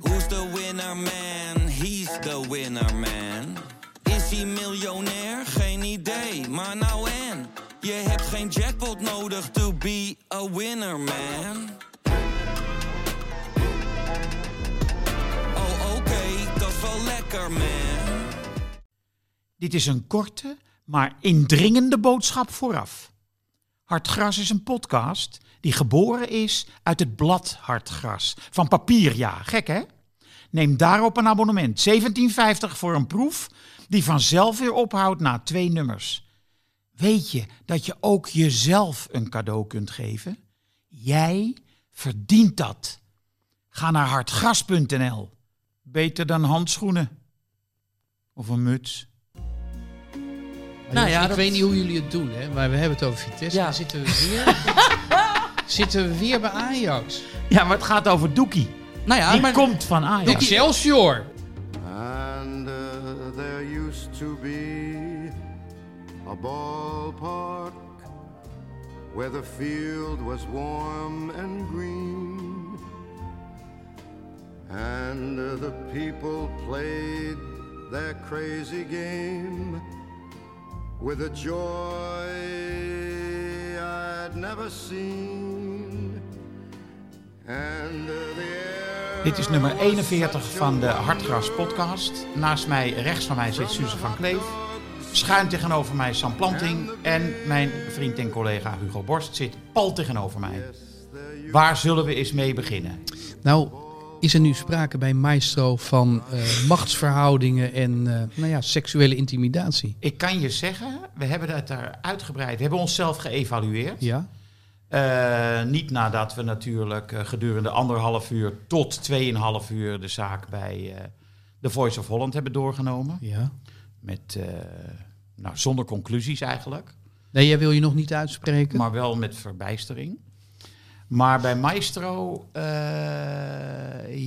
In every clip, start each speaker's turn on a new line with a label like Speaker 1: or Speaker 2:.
Speaker 1: Who's the winner man? He's the winner man. Is hij miljonair? Geen idee, maar nou en. Je hebt geen jackpot nodig to be a winner man. Oh oké, dat is wel lekker man.
Speaker 2: Dit is een korte, maar indringende boodschap vooraf. Hartgras is een podcast die geboren is uit het blad Hartgras. Van papier, ja. Gek, hè? Neem daarop een abonnement. 17,50 voor een proef die vanzelf weer ophoudt na twee nummers. Weet je dat je ook jezelf een cadeau kunt geven? Jij verdient dat. Ga naar hartgras.nl. Beter dan handschoenen. Of een muts.
Speaker 3: Nou ja,
Speaker 4: ik
Speaker 3: dat-
Speaker 4: weet niet hoe jullie het doen, hè, maar we hebben het over Vitesse.
Speaker 3: Ja.
Speaker 4: Dan zitten we weer, zitten we weer bij Ajax.
Speaker 2: Ja, maar het gaat over Doekie.
Speaker 3: Nou ja,
Speaker 2: Die
Speaker 3: maar
Speaker 2: komt van Ajax.
Speaker 4: Excelsior!
Speaker 5: And uh, there used to be a ballpark where the field was warm and green, and uh, the people played their crazy game with a joy I'd never seen. And uh, the air
Speaker 2: Dit is nummer
Speaker 5: was
Speaker 2: 41
Speaker 5: such a
Speaker 2: van de Hartgras podcast. Naast mij, rechts van mij, zit Suze van Kleef. Schuin tegenover mij Sam Planting. En mijn vriend en collega Hugo Borst zit pal tegenover mij. Waar zullen we eens mee beginnen?
Speaker 4: Nou, is er nu sprake bij Maestro van eh, machtsverhoudingen en eh, nou ja, seksuele intimidatie?
Speaker 2: Ik kan je zeggen, we hebben dat daar uitgebreid. We hebben onszelf geëvalueerd.
Speaker 4: Ja?
Speaker 2: Eh, niet nadat we natuurlijk eh, gedurende anderhalf uur tot tweeënhalf uur de zaak bij eh, The Voice of Holland hebben doorgenomen.
Speaker 4: Ja.
Speaker 2: Met, eh, nou, zonder conclusies eigenlijk,
Speaker 4: Nee, jij wil je nog niet uitspreken?
Speaker 2: maar wel met verbijstering. Maar bij Maestro, eh,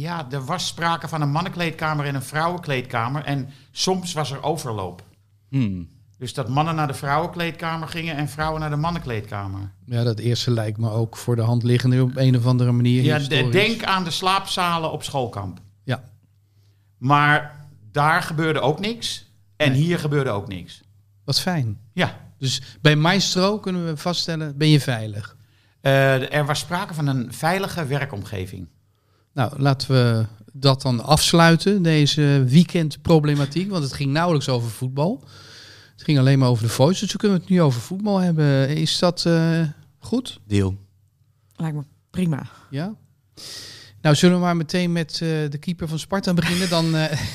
Speaker 2: ja, er was sprake van een mannenkleedkamer en een vrouwenkleedkamer. En soms was er overloop.
Speaker 3: Hmm.
Speaker 2: Dus dat mannen naar de vrouwenkleedkamer gingen en vrouwen naar de mannenkleedkamer.
Speaker 4: Ja, dat eerste lijkt me ook voor de hand liggende op een of andere manier.
Speaker 2: Ja, de-
Speaker 4: historisch.
Speaker 2: denk aan de slaapzalen op schoolkamp.
Speaker 4: Ja.
Speaker 2: Maar daar gebeurde ook niks. En hier gebeurde ook niks.
Speaker 4: Wat fijn.
Speaker 2: Ja,
Speaker 4: Dus bij Maestro kunnen we vaststellen, ben je veilig?
Speaker 2: eh, er was sprake van een veilige werkomgeving.
Speaker 4: Nou, laten we dat dan afsluiten, deze weekendproblematiek. Want het ging nauwelijks over voetbal. Het ging alleen maar over de voice. Dus we kunnen we het nu over voetbal hebben. Is dat eh, goed?
Speaker 3: Deal.
Speaker 6: Lijkt me prima.
Speaker 4: Ja? Nou, zullen we maar meteen met eh, de keeper van Sparta beginnen? Dan, eh, dan
Speaker 6: Hebben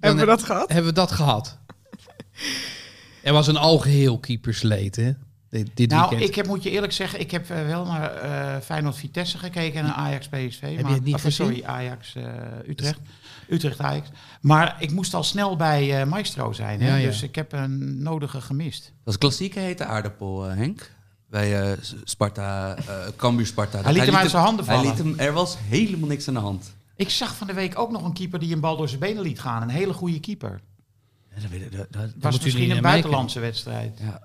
Speaker 6: we
Speaker 4: he-
Speaker 6: dat gehad?
Speaker 4: hebben we dat gehad. Er was een algeheel keepersleed, hè? Dit, dit
Speaker 2: nou,
Speaker 4: weekend.
Speaker 2: ik heb, moet je eerlijk zeggen, ik heb eh, wel naar eh Feyenoord Vitesse gekeken en naar Ajax PSV.
Speaker 4: Hm. je
Speaker 2: maar,
Speaker 4: het niet
Speaker 2: of,
Speaker 4: gezien?
Speaker 2: Sorry, Ajax eh, Utrecht. Utrecht Ajax. Maar ik moest al snel bij eh, Maestro zijn. Hè?
Speaker 4: Ja, ja.
Speaker 2: Dus ik heb een nodige gemist.
Speaker 3: Dat is klassieke hete aardappel, eh, Henk. Bij eh, S- Sparta, eh Cambuur Sparta.
Speaker 2: Hij liet hem uit zijn handen
Speaker 3: hij
Speaker 2: vallen.
Speaker 3: liet hem, er was helemaal niks aan de hand.
Speaker 2: Ik zag van de week ook nog een keeper die een bal door zijn benen liet gaan. Een hele goede keeper.
Speaker 3: Ja, dat weet ik, dat-
Speaker 2: Het
Speaker 3: dat-
Speaker 4: moeten
Speaker 2: was
Speaker 4: jullie
Speaker 2: misschien
Speaker 4: naar
Speaker 2: een
Speaker 4: mij
Speaker 2: buitenlandse wedstrijd.
Speaker 3: ja.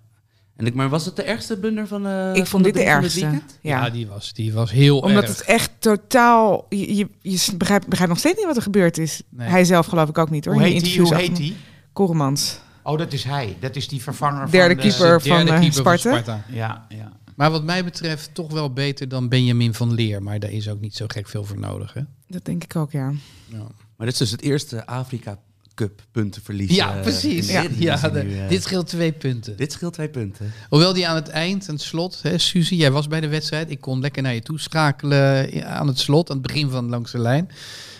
Speaker 3: En ik, maar was het de ergste blunder van eh
Speaker 6: ik
Speaker 3: van
Speaker 6: vond dit de
Speaker 3: van
Speaker 6: ergste.
Speaker 3: weekend?
Speaker 4: ja,
Speaker 6: ja.
Speaker 4: die was, die was heel
Speaker 6: Omdat
Speaker 4: erg.
Speaker 6: het echt totaal... Je, je, je s- begrijpt, begrijpt nog steeds niet wat er gebeurd is.
Speaker 4: Nee.
Speaker 6: Hij zelf geloof ik ook niet hoor.
Speaker 2: Hoe
Speaker 6: In die
Speaker 2: heet die?
Speaker 6: interviews
Speaker 2: Hoe
Speaker 6: achter
Speaker 2: heet
Speaker 6: me.
Speaker 2: die?
Speaker 6: Koeremans.
Speaker 2: Oh, dat is hij. Dat is die vervanger
Speaker 6: Derde
Speaker 2: van de-
Speaker 6: keeper.
Speaker 4: De derde
Speaker 6: van, eh, Sparta.
Speaker 2: Ja, ja.
Speaker 4: Maar wat mij betreft toch wel beter dan Benjamin van Leer. Maar daar is ook niet zo gek veel voor nodig. Hè?
Speaker 6: Dat denk ik ook, ja.
Speaker 3: Maar dit is dus het eerste Afrika Cup puntenverlies. eh, in de
Speaker 4: Ja,
Speaker 3: Eredivisie
Speaker 4: ja,
Speaker 3: nu,
Speaker 4: de-
Speaker 3: eh.
Speaker 4: dit scheelt twee punten.
Speaker 3: dit scheelt twee punten.
Speaker 4: Hoewel die aan het eind, aan het slot, hè, Suzy, jij was bij de wedstrijd. Ik kon lekker naar je toe schakelen i- aan het slot, aan het begin van langs de lijn.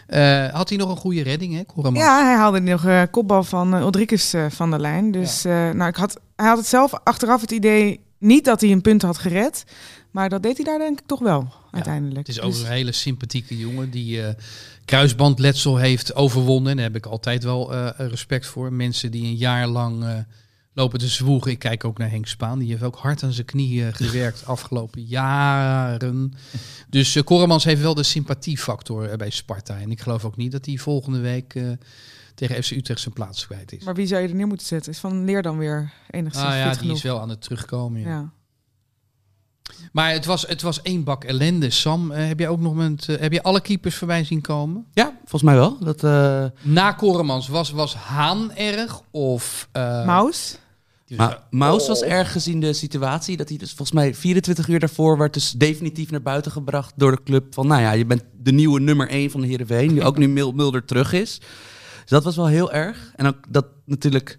Speaker 4: Eh, had hij nog een goede redding, hè, Koraman?
Speaker 6: Ja, hij haalde nog een kopbal van eh, Ulrikus eh, van der Lijn. Dus eh, nou, ik had, hij had het zelf achteraf het idee niet dat hij een punt had gered. Maar dat deed hij daar denk ik toch wel, uiteindelijk.
Speaker 4: Het is
Speaker 6: Dus-
Speaker 4: over een hele sympathieke jongen die eh, kruisbandletsel heeft overwonnen. Daar heb ik altijd wel eh, respect voor. Mensen die een jaar lang eh, lopen te zwoegen. Ik kijk ook naar Henk Spaan. Die heeft ook hard aan zijn knieën gewerkt afgelopen jaren. Dus eh Koremans heeft wel de sympathiefactor eh, bij Sparta. En ik geloof ook niet dat hij volgende week eh, tegen FC Utrecht zijn plaats kwijt is.
Speaker 6: Maar wie zou je er neer moeten zetten? Is Van Leer dan weer enigszins
Speaker 4: ah ja,
Speaker 6: fit
Speaker 4: die
Speaker 6: genoeg?
Speaker 4: is wel aan het terugkomen. ja.
Speaker 6: ja.
Speaker 4: Maar het was, het was één bak ellende. Sam, eh, heb jij ook nog met, eh, heb je alle keepers voorbij zien komen?
Speaker 3: Ja, volgens mij wel. Dat, eh,
Speaker 4: Na Koremans was, was Haan erg of... eh,
Speaker 6: Maus?
Speaker 4: dus, eh,
Speaker 3: maar Maus was erg gezien de situatie dat hij dus volgens mij 24 uur daarvoor werd dus definitief naar buiten gebracht door de club. Van nou ja, je bent de nieuwe nummer 1 van de Heerenveen, die ook nu Mil- Mulder terug is. Dus dat was wel heel erg. En ook dat natuurlijk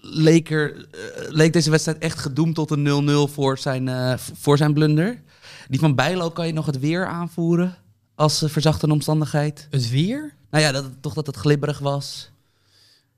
Speaker 3: leek, er, eh, leek deze wedstrijd echt gedoemd tot een 0-0 voor zijn, eh, v- voor zijn blunder. Die van Bijlo kan je nog het weer aanvoeren als eh, verzachte omstandigheid.
Speaker 4: Het weer?
Speaker 3: Nou ja, dat, het- toch dat het glibberig was.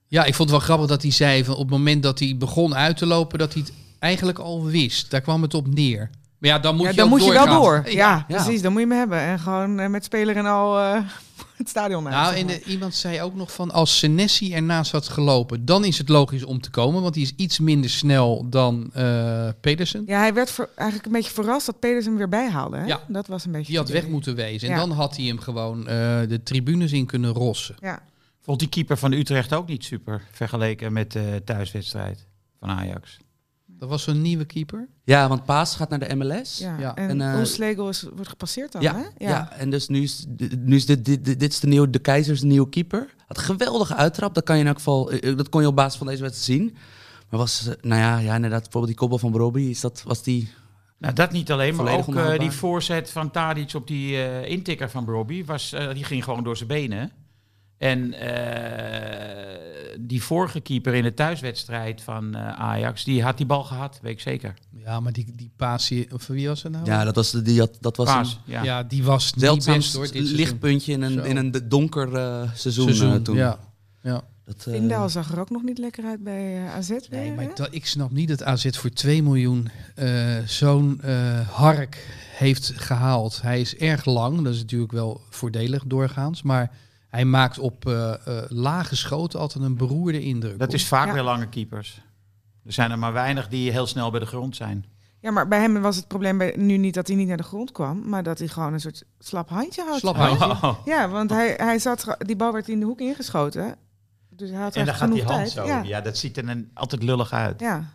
Speaker 4: Ja, ik vond het wel grappig dat hij zei van op het moment dat hij begon uit te lopen, dat hij het eigenlijk al wist. Daar kwam het op neer. Maar ja, dan moet,
Speaker 6: ja,
Speaker 4: je,
Speaker 6: dan
Speaker 4: ook
Speaker 6: moet je wel
Speaker 4: doorgaan.
Speaker 6: door. Ja,
Speaker 3: ja.
Speaker 6: precies. Dan moet je me hebben. En gewoon eh, met speler en al eh, het stadion uit.
Speaker 4: Nou,
Speaker 6: zeg
Speaker 4: en
Speaker 6: maar.
Speaker 4: eh, iemand zei ook nog van als Senesi ernaast had gelopen, dan is het logisch om te komen, want die is iets minder snel dan eh Pedersen.
Speaker 6: Ja, hij werd ver- eigenlijk een beetje verrast dat Pedersen hem weer bijhaalde. Hè?
Speaker 4: Ja.
Speaker 6: Dat was een beetje...
Speaker 4: Die had
Speaker 6: het
Speaker 4: weg
Speaker 6: idee.
Speaker 4: moeten wezen. En
Speaker 6: Ja.
Speaker 4: dan had hij hem gewoon eh, de tribunes in kunnen rossen.
Speaker 6: Ja.
Speaker 2: Vond die keeper van Utrecht ook niet super vergeleken met de thuiswedstrijd van Ajax?
Speaker 4: Dat was zo'n nieuwe keeper.
Speaker 3: Ja, want Paas gaat naar de MLS.
Speaker 6: Ja.
Speaker 4: Ja.
Speaker 6: En,
Speaker 3: En, eh,
Speaker 6: Oelslegel is, wordt gepasseerd dan,
Speaker 3: ja,
Speaker 6: hè?
Speaker 3: ja. en dus nu is, nu is dit, dit, dit is de, nieuwe, de keizers de nieuwe keeper. Had een geweldige uittrap, dat, kan je in elk geval, eh, eh, dat kon je op basis van deze wedstrijd zien. Maar was, eh, nou ja, ja inderdaad, bijvoorbeeld die kopbal van Robbie, is dat, was die...
Speaker 2: Nou, dat niet alleen, maar
Speaker 3: Volledig
Speaker 2: ook eh,
Speaker 3: onhoudbaar.
Speaker 2: die voorzet van Tadic op die eh, intikker van Robbie, was, eh, die ging gewoon door zijn benen. En eh, die vorige keeper in de thuiswedstrijd van eh, Ajax, die had die bal gehad, weet ik zeker.
Speaker 4: Ja, maar die, die passie, of wie was het
Speaker 6: Oh.
Speaker 4: nou?
Speaker 3: Ja, dat was, de- die had, dat was
Speaker 2: Paas,
Speaker 3: een
Speaker 2: ja.
Speaker 4: Ja, die was niet
Speaker 3: zeldzaam
Speaker 4: best hoor. Dit seizoen.
Speaker 3: lichtpuntje in
Speaker 4: Zo.
Speaker 3: een, in een d- donker eh, seizoen, eh,
Speaker 4: Seizoen,
Speaker 3: toen.
Speaker 4: Ja. ja.
Speaker 3: Dat, eh,
Speaker 6: Vindal zag er ook nog niet lekker uit bij eh, AZ.
Speaker 4: Nee,
Speaker 6: weer, hè?
Speaker 4: maar dat, ik snap niet dat AZ voor 2 miljoen eh, zo'n eh, hark heeft gehaald. Hij is erg lang, dat is natuurlijk wel voordelig doorgaans. Maar hij maakt op eh, eh, lage schoten altijd een beroerde indruk.
Speaker 2: Dat
Speaker 4: hoor.
Speaker 2: is vaak
Speaker 6: Ja.
Speaker 2: weer lange keepers. Er zijn er maar weinig die heel snel bij de grond zijn.
Speaker 6: Ja, maar bij hem was het probleem bij, nu niet dat hij niet naar de grond kwam, maar dat hij gewoon een soort slap handje had.
Speaker 4: Slap handje.
Speaker 2: Oh.
Speaker 6: Ja, want hij, hij zat, ge- die bal werd in de hoek ingeschoten. Dus hij had
Speaker 2: En dan
Speaker 6: echt
Speaker 2: gaat die
Speaker 6: genoeg
Speaker 2: hand
Speaker 6: tijd.
Speaker 2: zo.
Speaker 6: Ja.
Speaker 2: Ja. dat ziet er dan altijd lullig uit.
Speaker 6: Ja.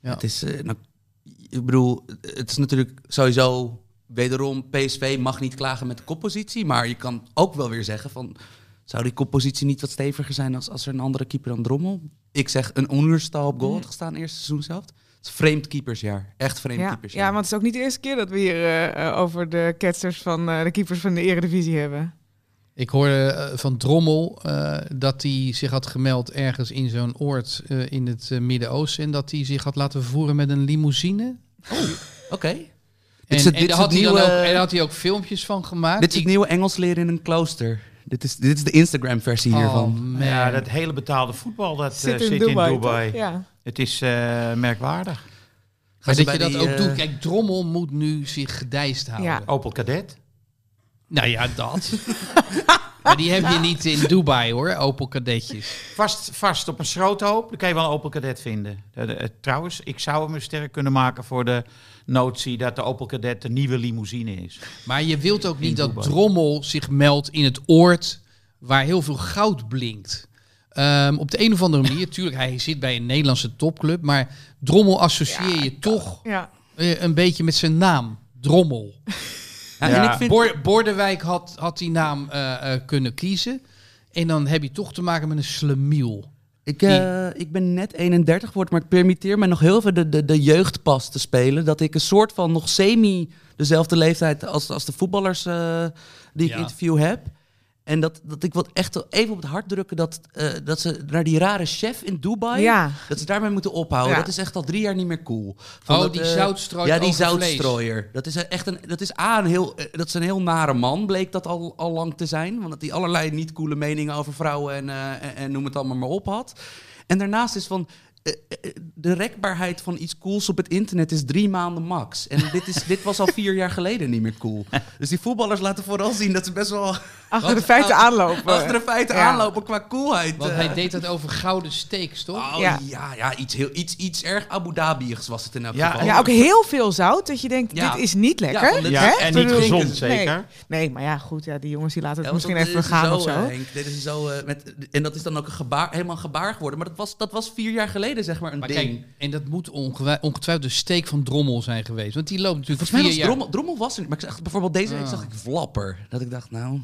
Speaker 3: Het is, eh, nou, ik bedoel, het is natuurlijk sowieso wederom PSV mag niet klagen met de koppositie, maar je kan ook wel weer zeggen van zou die koppositie niet wat steviger zijn als, als er een andere keeper dan Drommel? Ik zeg een onuurstal op goal had gestaan eerste seizoen zelf. Het is vreemd keepersjaar, echt vreemd
Speaker 6: Ja.
Speaker 3: keepersjaar.
Speaker 6: ja, want het is ook niet de eerste keer dat we hier eh, eh, over de ketsters van eh, de keepers van de Eredivisie hebben.
Speaker 4: Ik hoorde eh, van Drommel eh, dat hij zich had gemeld ergens in zo'n oord eh, in het eh, Midden-Oosten. En dat hij zich had laten voeren met een limousine.
Speaker 3: Oké.
Speaker 4: Ah, En,
Speaker 3: Dit is het-
Speaker 4: en
Speaker 3: dit is
Speaker 4: daar had
Speaker 3: het
Speaker 4: hij dan
Speaker 3: nieuwe-
Speaker 4: ook- en daar had hij ook filmpjes van gemaakt.
Speaker 3: Dit is het
Speaker 4: Ik-
Speaker 3: nieuwe Engels leren in een klooster. Dit is, dit is de Instagram versie hiervan.
Speaker 4: Oh, man.
Speaker 2: Ja, dat hele betaalde voetbal dat eh, zit, in Dubai.
Speaker 6: toch? Ja.
Speaker 2: Het is eh, merkwaardig.
Speaker 3: Gaan
Speaker 4: Maar
Speaker 3: ze
Speaker 4: dat je
Speaker 3: bij
Speaker 4: dat
Speaker 3: die,
Speaker 4: ook
Speaker 3: eh,
Speaker 4: doet. Kijk, Drommel moet nu zich gedijst houden.
Speaker 6: Ja.
Speaker 2: Opel Cadet.
Speaker 4: Nou ja, dat. maar die heb je niet in Dubai hoor, Opel kadetjes.
Speaker 2: Vast, vast op een schroothoop, dan kan je wel een Opel Cadet vinden. Eh, eh, trouwens, ik zou hem een sterk kunnen maken voor de notie dat de Opel Cadet de nieuwe limousine is.
Speaker 4: Maar je wilt ook niet dat
Speaker 2: Dubai.
Speaker 4: Drommel zich meldt in het oord waar heel veel goud blinkt. Ehm, op de een of andere manier, tuurlijk, hij zit bij een Nederlandse topclub, maar Drommel associeer je toch
Speaker 6: ja.
Speaker 4: eh, een beetje met zijn naam. Drommel.
Speaker 3: Ja,
Speaker 2: Ja.
Speaker 3: En ik vind,
Speaker 4: Bor- Bordewijk had, had die naam eh, eh, kunnen kiezen. En dan heb je toch te maken met een slemiel.
Speaker 3: Ik, eh, ik ben net 31 geworden, maar ik permitteer me nog heel veel de, de, de jeugdpas te spelen. Dat ik een soort van nog semi dezelfde leeftijd als, als de voetballers eh, die ik
Speaker 4: Ja.
Speaker 3: interview heb. En dat, dat ik wil echt wel even op het hart drukken dat, eh, dat ze naar die rare chef in Dubai,
Speaker 6: Ja.
Speaker 3: dat ze daarmee moeten ophouden.
Speaker 6: Ja.
Speaker 3: Dat is echt al drie jaar niet meer cool. Van
Speaker 4: Oh,
Speaker 3: dat,
Speaker 4: die
Speaker 3: eh,
Speaker 4: zoutstrooier
Speaker 3: Ja, die
Speaker 4: over vlees.
Speaker 3: zoutstrooier. Dat is echt een, dat is A, een heel, eh, dat is een heel nare man, bleek dat al, al lang te zijn. Want dat hij allerlei niet coole meningen over vrouwen en, eh, en, en noem het allemaal maar op had. En daarnaast is van. eh, eh, De rekbaarheid van iets cools op het internet is drie maanden max. En dit, is, dit was al vier jaar geleden niet meer cool. Dus die voetballers laten vooral zien dat ze best wel
Speaker 6: Achter de feiten aanlopen.
Speaker 3: achter de feiten
Speaker 6: Ja.
Speaker 3: aanlopen qua coolheid.
Speaker 4: Want
Speaker 3: eh.
Speaker 4: hij deed dat over gouden steaks, toch?
Speaker 3: Oh,
Speaker 6: Ja.
Speaker 3: ja, ja, iets, heel, iets, iets erg Abu Dhabi's was het in elk
Speaker 2: Ja,
Speaker 3: geval.
Speaker 6: Ja, ook heel veel zout. Dat je denkt,
Speaker 3: Ja.
Speaker 6: dit is niet lekker.
Speaker 3: van dit-
Speaker 2: Ja,
Speaker 6: Hè?
Speaker 2: en
Speaker 6: Bedoel
Speaker 2: niet
Speaker 6: ik-
Speaker 2: gezond,
Speaker 6: nee.
Speaker 2: zeker.
Speaker 6: Nee, maar ja, goed. Ja, die jongens die laten het
Speaker 3: Ja, want
Speaker 6: misschien
Speaker 3: dat
Speaker 6: even
Speaker 3: is
Speaker 6: gaan
Speaker 3: zo,
Speaker 6: of zo.
Speaker 3: eh, Henk, dit is zo, eh, met, en dat is dan ook een gebaar, helemaal een gebaar geworden. Maar dat was, dat was vier jaar geleden zeg maar een
Speaker 4: Maar
Speaker 3: ding.
Speaker 4: kijk, en dat moet ongewi- ongetwijfeld de steek van Drommel zijn geweest. Want die loopt natuurlijk
Speaker 3: Volgens mij
Speaker 4: vier
Speaker 3: was
Speaker 4: jaar...
Speaker 3: Drommel, Drommel was er niet. Maar ik zag bijvoorbeeld deze week zag ik Flapper. Dat ik dacht, nou...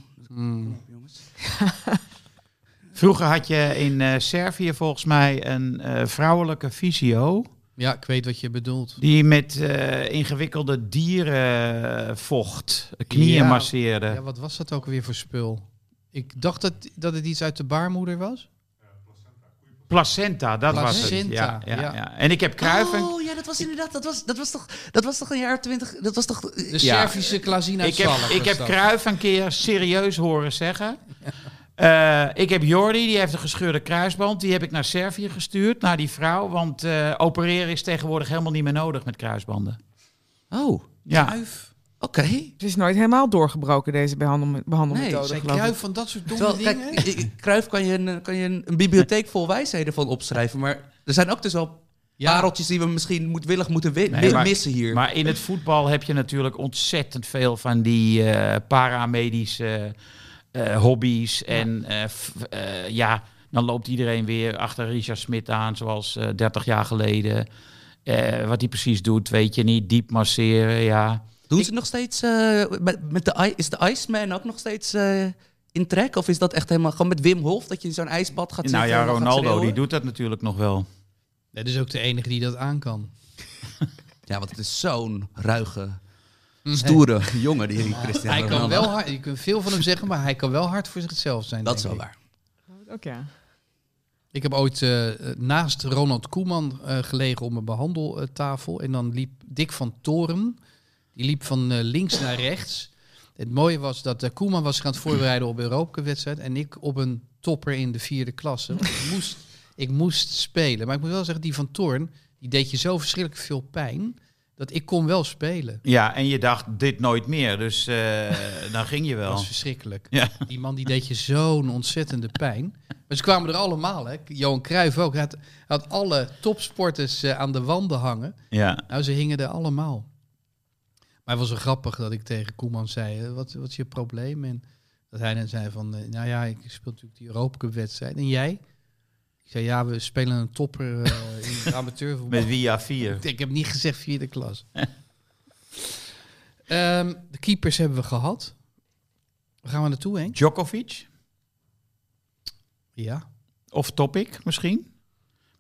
Speaker 2: Vroeger had je in eh, Servië volgens mij een eh, vrouwelijke fysio.
Speaker 4: Ja, ik weet wat je bedoelt.
Speaker 2: Die met eh, ingewikkelde dierenvocht knieën
Speaker 4: Ja.
Speaker 2: masseerde.
Speaker 4: Ja, wat was dat ook weer voor spul? Ik dacht dat, dat het iets uit de baarmoeder was.
Speaker 2: Placenta, dat
Speaker 4: Placenta,
Speaker 2: was het. Ja, ja,
Speaker 4: ja.
Speaker 2: ja. En ik heb Kruiven.
Speaker 3: Oh ja, dat was inderdaad... Dat was, dat was, toch, dat was toch een jaar twintig... Dat was toch... eh,
Speaker 4: De
Speaker 2: Ja.
Speaker 4: Servische Klazina
Speaker 2: ik heb,
Speaker 4: Zalk
Speaker 2: ik
Speaker 4: was
Speaker 2: heb
Speaker 4: Nou, dat.
Speaker 2: Kruif een keer serieus horen zeggen. Eh, ik heb Jordi, die heeft een gescheurde kruisband. Die heb ik naar Servië gestuurd, naar die vrouw. Want eh, opereren is tegenwoordig helemaal niet meer nodig met kruisbanden.
Speaker 3: Oh, oké.
Speaker 2: Ja,
Speaker 6: Het is nooit helemaal doorgebroken, deze behandel- behandelmethode,
Speaker 3: Nee,
Speaker 4: Zijn
Speaker 6: geloof ik.
Speaker 4: kruif van dat soort domme
Speaker 3: Terwijl,
Speaker 4: dingen?
Speaker 3: kijk, i- i- Kruif kan je, een, kan je een, een bibliotheek vol wijsheden van opschrijven. Maar er zijn ook dus wel pareltjes die we misschien moedwillig moeten wi-
Speaker 2: Nee,
Speaker 3: wi-
Speaker 2: maar-
Speaker 3: missen hier.
Speaker 2: maar in het voetbal heb je natuurlijk ontzettend veel van die eh, paramedische eh, hobby's. En eh, f- eh, ja, dan loopt iedereen weer achter Richard Smit aan, zoals eh 30 jaar geleden. Eh, wat hij precies doet, weet je niet. Diep masseren, ja.
Speaker 3: Doen ze nog steeds... eh, met, met de, i- is de Iceman ook nog steeds eh, in trek? Of is dat echt helemaal gewoon met Wim Hof dat je in zo'n ijsbad gaat
Speaker 2: Nou
Speaker 3: zitten?
Speaker 2: ja,
Speaker 3: en dan gaat
Speaker 2: Ronaldo die
Speaker 3: schreeuwen?
Speaker 2: doet dat natuurlijk nog wel.
Speaker 4: Dat is ook de enige die dat aan kan.
Speaker 3: Ja, want het is zo'n ruige, stoere jongen die Cristiano
Speaker 4: Mm. Hij kan
Speaker 3: Ronaldo.
Speaker 4: wel hard, je kunt veel van hem zeggen, maar hij kan wel hard voor zichzelf zijn.
Speaker 3: Dat
Speaker 4: denk
Speaker 3: is wel
Speaker 4: ik.
Speaker 3: waar.
Speaker 6: Ook ja.
Speaker 4: Ik heb ooit eh, naast Ronald Koeman eh, gelegen op mijn behandeltafel. En dan liep Dick van Toren. Die liep van eh, links naar rechts. Het mooie was dat eh, Koeman was zich aan het voorbereiden op een Europawedstrijd. En ik op een topper in de vierde klasse. Want ik, moest, ik moest spelen. Maar ik moet wel zeggen, die van Toorn, die deed je zo verschrikkelijk veel pijn. Dat ik kon wel spelen.
Speaker 2: Ja, en je dacht dit nooit meer, dus eh, dan ging je
Speaker 4: Dat
Speaker 2: wel.
Speaker 4: was verschrikkelijk.
Speaker 2: Ja.
Speaker 4: Die man die deed je zo'n ontzettende pijn. Maar ze kwamen er allemaal, hè. Johan Cruijff ook. Hij had, hij had alle topsporters eh, aan de wanden hangen.
Speaker 2: Ja.
Speaker 4: Nou, ze hingen er allemaal. Maar het was zo grappig dat ik tegen Koeman zei, eh, wat, wat is je probleem? En dat hij dan zei van, eh, nou ja, ik speel natuurlijk die Europa Cup wedstrijd. En jij? Ik zei, ja, we spelen een topper eh, in het amateurvoetbal.
Speaker 2: Met Via 4.
Speaker 4: Ik heb niet gezegd vierde klas. Ehm, de keepers hebben we gehad. Waar gaan we naartoe, Henk?
Speaker 2: Djokovic,
Speaker 4: Ja.
Speaker 2: of Topic misschien.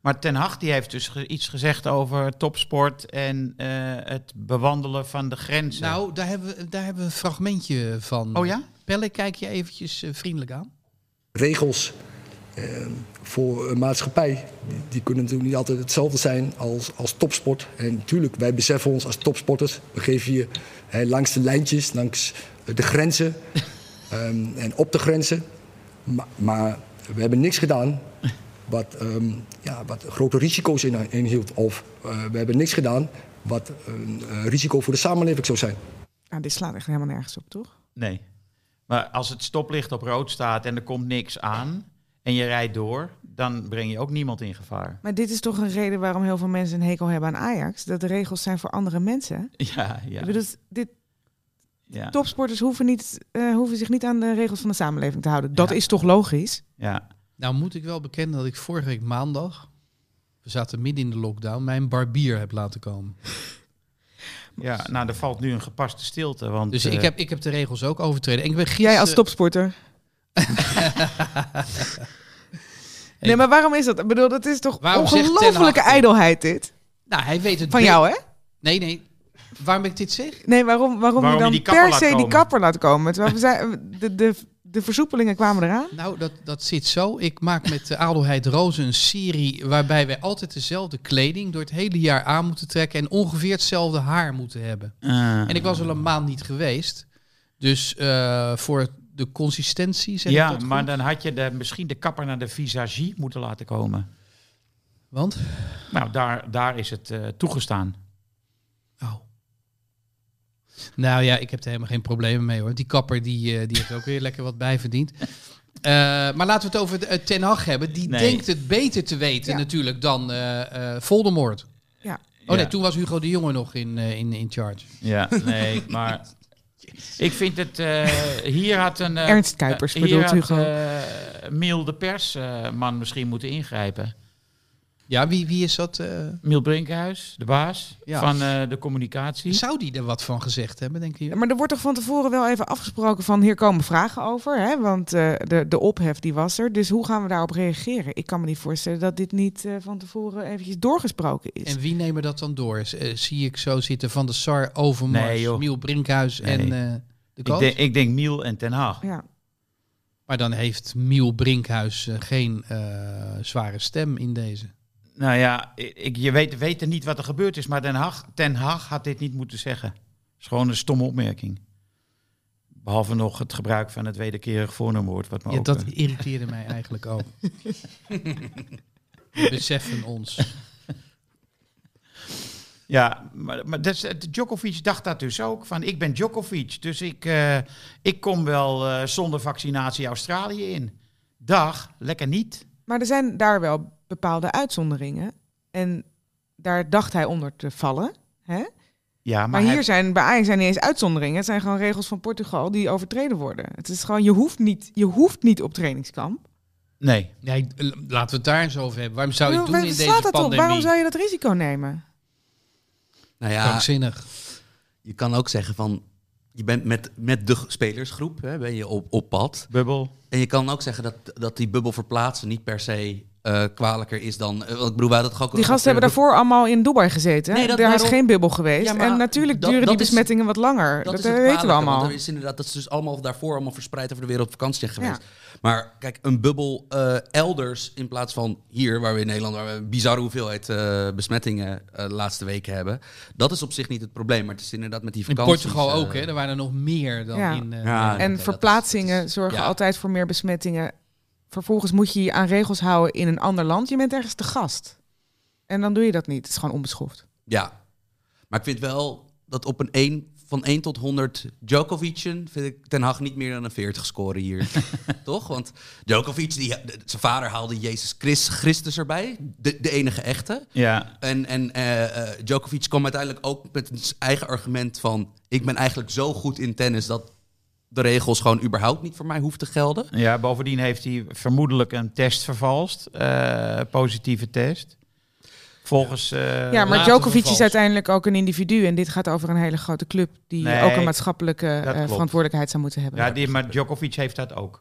Speaker 2: Maar Ten Hag die heeft dus ge- iets gezegd over topsport en eh, het bewandelen van de grenzen.
Speaker 4: Nou, daar hebben, we, daar hebben we een fragmentje van.
Speaker 2: oh ja?
Speaker 4: Pelle, kijk je eventjes eh, vriendelijk aan.
Speaker 7: regels eh, voor een maatschappij, die, die kunnen natuurlijk niet altijd hetzelfde zijn als, als topsport. En natuurlijk, wij beseffen ons als topsporters, we geven hier hè, langs de lijntjes, langs de grenzen ehm, en op de grenzen. Maar, maar we hebben niks gedaan wat, ehm, ja, wat grote risico's in, inhield. Of eh, we hebben niks gedaan wat een eh, risico voor de samenleving zou zijn.
Speaker 6: Nou, dit slaat echt helemaal nergens op, toch?
Speaker 2: Nee. Maar als het stoplicht op rood staat en er komt niks aan en je rijdt door, dan breng je ook niemand in gevaar.
Speaker 6: Maar dit is toch een reden waarom heel veel mensen een hekel hebben aan Ajax? Dat de regels zijn voor andere mensen.
Speaker 2: Ja, ja.
Speaker 6: Ik bedoel, dit,
Speaker 2: ja.
Speaker 6: topsporters hoeven, niet, eh, hoeven zich niet aan de regels van de samenleving te houden. Dat
Speaker 2: Ja.
Speaker 6: is toch logisch?
Speaker 2: ja.
Speaker 4: Nou moet ik wel bekennen dat ik vorige week maandag, we zaten midden in de lockdown, mijn barbier heb laten komen.
Speaker 2: Ja, nou, er valt nu een gepaste stilte. Want,
Speaker 4: Dus ik,
Speaker 2: eh,
Speaker 4: heb, ik heb de regels ook overtreden. En ik ben
Speaker 2: Dus,
Speaker 6: Jij als
Speaker 4: gisteren-
Speaker 6: topsporter. Nee, maar waarom is dat? Ik bedoel, dat is toch
Speaker 4: Waarom zegt Ten Hag
Speaker 6: ongelofelijke
Speaker 4: dit?
Speaker 6: ijdelheid dit?
Speaker 4: Nou, hij weet het
Speaker 6: Van
Speaker 4: be-
Speaker 6: jou, hè?
Speaker 4: Nee, nee. Waarom ik dit zeg?
Speaker 6: Nee, waarom, waarom,
Speaker 2: Waarom je
Speaker 6: je dan
Speaker 2: die kapper
Speaker 6: per
Speaker 2: laat
Speaker 6: se die
Speaker 2: komen?
Speaker 6: kapper laat komen? Terwijl we zei, de, de, de versoepelingen kwamen eraan.
Speaker 4: Nou, dat, dat zit zo. Ik maak met de Adelheid Rozen een serie waarbij wij altijd dezelfde kleding door het hele jaar aan moeten trekken en ongeveer hetzelfde haar moeten hebben.
Speaker 2: eh,
Speaker 4: En ik was al een maand niet geweest. Dus eh, voor de consistentie zeg ik
Speaker 2: ja,
Speaker 4: dat goed?
Speaker 2: maar dan had je de, misschien de kapper naar de visagie moeten laten komen.
Speaker 4: Want?
Speaker 2: Nou, daar, daar is het eh, toegestaan.
Speaker 4: Oh. Nou ja, ik heb er helemaal geen problemen mee hoor. Die kapper die, eh, die heeft ook weer lekker wat bijverdiend. Eh, maar laten we het over eh, Ten Hag hebben. Die
Speaker 2: Nee.
Speaker 4: denkt het beter te weten
Speaker 6: Ja.
Speaker 4: natuurlijk dan eh, eh, Voldemort.
Speaker 6: Ja.
Speaker 4: Oh nee,
Speaker 2: Ja.
Speaker 4: toen was Hugo de Jonge nog in, eh, in, in charge.
Speaker 2: Ja, nee, maar... Ik vind het... eh, hier had een... eh,
Speaker 6: Ernst Kuipers
Speaker 2: eh,
Speaker 6: bedoelt
Speaker 2: Hier
Speaker 6: Hugo.
Speaker 2: eh, had eh, Miel de persman misschien moeten ingrijpen.
Speaker 4: Ja, wie, wie is dat? eh?
Speaker 2: Miel Brinkhuis, de baas
Speaker 4: Ja.
Speaker 2: van eh, de communicatie.
Speaker 4: zou die er wat van gezegd hebben, denk je?
Speaker 6: Maar er wordt toch van tevoren wel even afgesproken van hier komen vragen over. Hè? Want eh, de, de ophef die was er. Dus hoe gaan we daarop reageren? Ik kan me niet voorstellen dat dit niet eh, van tevoren eventjes doorgesproken is.
Speaker 4: En wie nemen dat dan door? Z- eh, zie ik zo zitten Van de Sar, Overmars,
Speaker 2: Nee, joh.
Speaker 4: Miel Brinkhuis
Speaker 2: Nee.
Speaker 4: en eh, de
Speaker 2: ik,
Speaker 4: coach.
Speaker 2: denk, ik denk Miel en Ten Haag.
Speaker 6: Ja.
Speaker 4: Maar dan heeft Miel Brinkhuis eh, geen eh, zware stem in deze.
Speaker 2: Nou ja, ik, je weet, weet niet wat er gebeurd is, maar Den Haag, Ten Haag had dit niet moeten zeggen. Het is gewoon een stomme opmerking. Behalve nog het gebruik van het wederkerig voornaamwoord. Wat me
Speaker 4: Ja,
Speaker 2: ook,
Speaker 4: dat
Speaker 2: eh,
Speaker 4: irriteerde mij eigenlijk ook. We beseffen ons.
Speaker 2: ja maar, maar dat is- eh, Djokovic dacht dat dus ook. Van, ik ben Djokovic, dus ik, eh, ik kom wel eh, zonder vaccinatie Australië in. Dag, lekker niet.
Speaker 6: Maar er zijn daar wel bepaalde uitzonderingen. En daar dacht hij onder te vallen.
Speaker 2: Ja, maar,
Speaker 6: Maar,
Speaker 2: hij-
Speaker 6: hier zijn bij Ajax zijn niet eens uitzonderingen. Het zijn gewoon regels van Portugal die overtreden worden. Het is gewoon, je hoeft niet, je hoeft niet op trainingskamp.
Speaker 2: Nee,
Speaker 4: Nee, l- laten we het daar eens over hebben. Waarom zou je het doen
Speaker 6: Waar-
Speaker 4: in
Speaker 6: slaat
Speaker 4: deze
Speaker 6: dat op?
Speaker 4: pandemie?
Speaker 6: Waarom zou je dat risico nemen?
Speaker 3: Nou ja,
Speaker 4: Krankzinnig.
Speaker 3: je kan ook zeggen van... Je bent met, met de spelersgroep hè, ben je op, op pad.
Speaker 2: bubbel.
Speaker 3: En je kan ook zeggen dat, dat die bubbel verplaatsen niet per se eh, kwalijker is dan... eh, want ik bedoel, wij hadden toch ook...
Speaker 6: Die gasten hebben daarvoor allemaal in Dubai gezeten.
Speaker 3: Nee, dat-
Speaker 6: daar is
Speaker 3: daarom-
Speaker 6: geen bubbel geweest.
Speaker 3: Ja, maar
Speaker 6: en natuurlijk
Speaker 3: dat-
Speaker 6: duren
Speaker 3: dat
Speaker 6: die
Speaker 3: is-
Speaker 6: besmettingen wat langer. Dat, eh,
Speaker 3: is het
Speaker 6: weten we
Speaker 3: kwalijke,
Speaker 6: allemaal.
Speaker 3: Want er is inderdaad, dat is dus allemaal daarvoor allemaal verspreid over de wereld op vakantie zijn geweest. Maar kijk, een bubbel eh, elders in plaats van hier, waar we in Nederland waar we een bizarre hoeveelheid eh, besmettingen eh, de laatste weken hebben. Dat is op zich niet het probleem, maar het is inderdaad met die
Speaker 4: In
Speaker 3: vakanties.
Speaker 4: Portugal
Speaker 3: eh,
Speaker 4: ook, hè? Er waren er nog meer dan
Speaker 6: Ja.
Speaker 4: in... eh,
Speaker 3: Ja,
Speaker 2: Ah,
Speaker 3: dat- dat
Speaker 6: En
Speaker 3: is-
Speaker 6: verplaatsingen zorgen
Speaker 3: ja.
Speaker 6: altijd voor meer besmettingen. Vervolgens moet je je aan regels houden in een ander land. Je bent ergens te gast. En dan doe je dat niet. Het is gewoon onbeschoft.
Speaker 3: Ja. Maar ik vind wel dat op een 1, van 1 tot 100 Djokovicen vind ik Ten Hag niet meer dan een 40 scoren hier. Toch? Want Djokovic, die, de- zijn vader haalde Jezus Christ- Christus erbij. De, de enige echte.
Speaker 2: Ja,
Speaker 3: En, en eh, eh, Djokovic kwam uiteindelijk ook met zijn eigen argument van... ik ben eigenlijk zo goed in tennis dat de regels gewoon überhaupt niet voor mij hoeven te gelden.
Speaker 2: ja, bovendien heeft hij vermoedelijk een test vervalst. eh, positieve test. Volgens... eh,
Speaker 6: ja, maar
Speaker 4: laten
Speaker 6: Djokovic
Speaker 4: vervalsen.
Speaker 6: is uiteindelijk ook een individu. En dit gaat over een hele grote club die
Speaker 2: Nee,
Speaker 6: ook een maatschappelijke eh,
Speaker 2: klopt.
Speaker 6: verantwoordelijkheid zou moeten hebben.
Speaker 2: Ja, die, maar Djokovic heeft dat ook.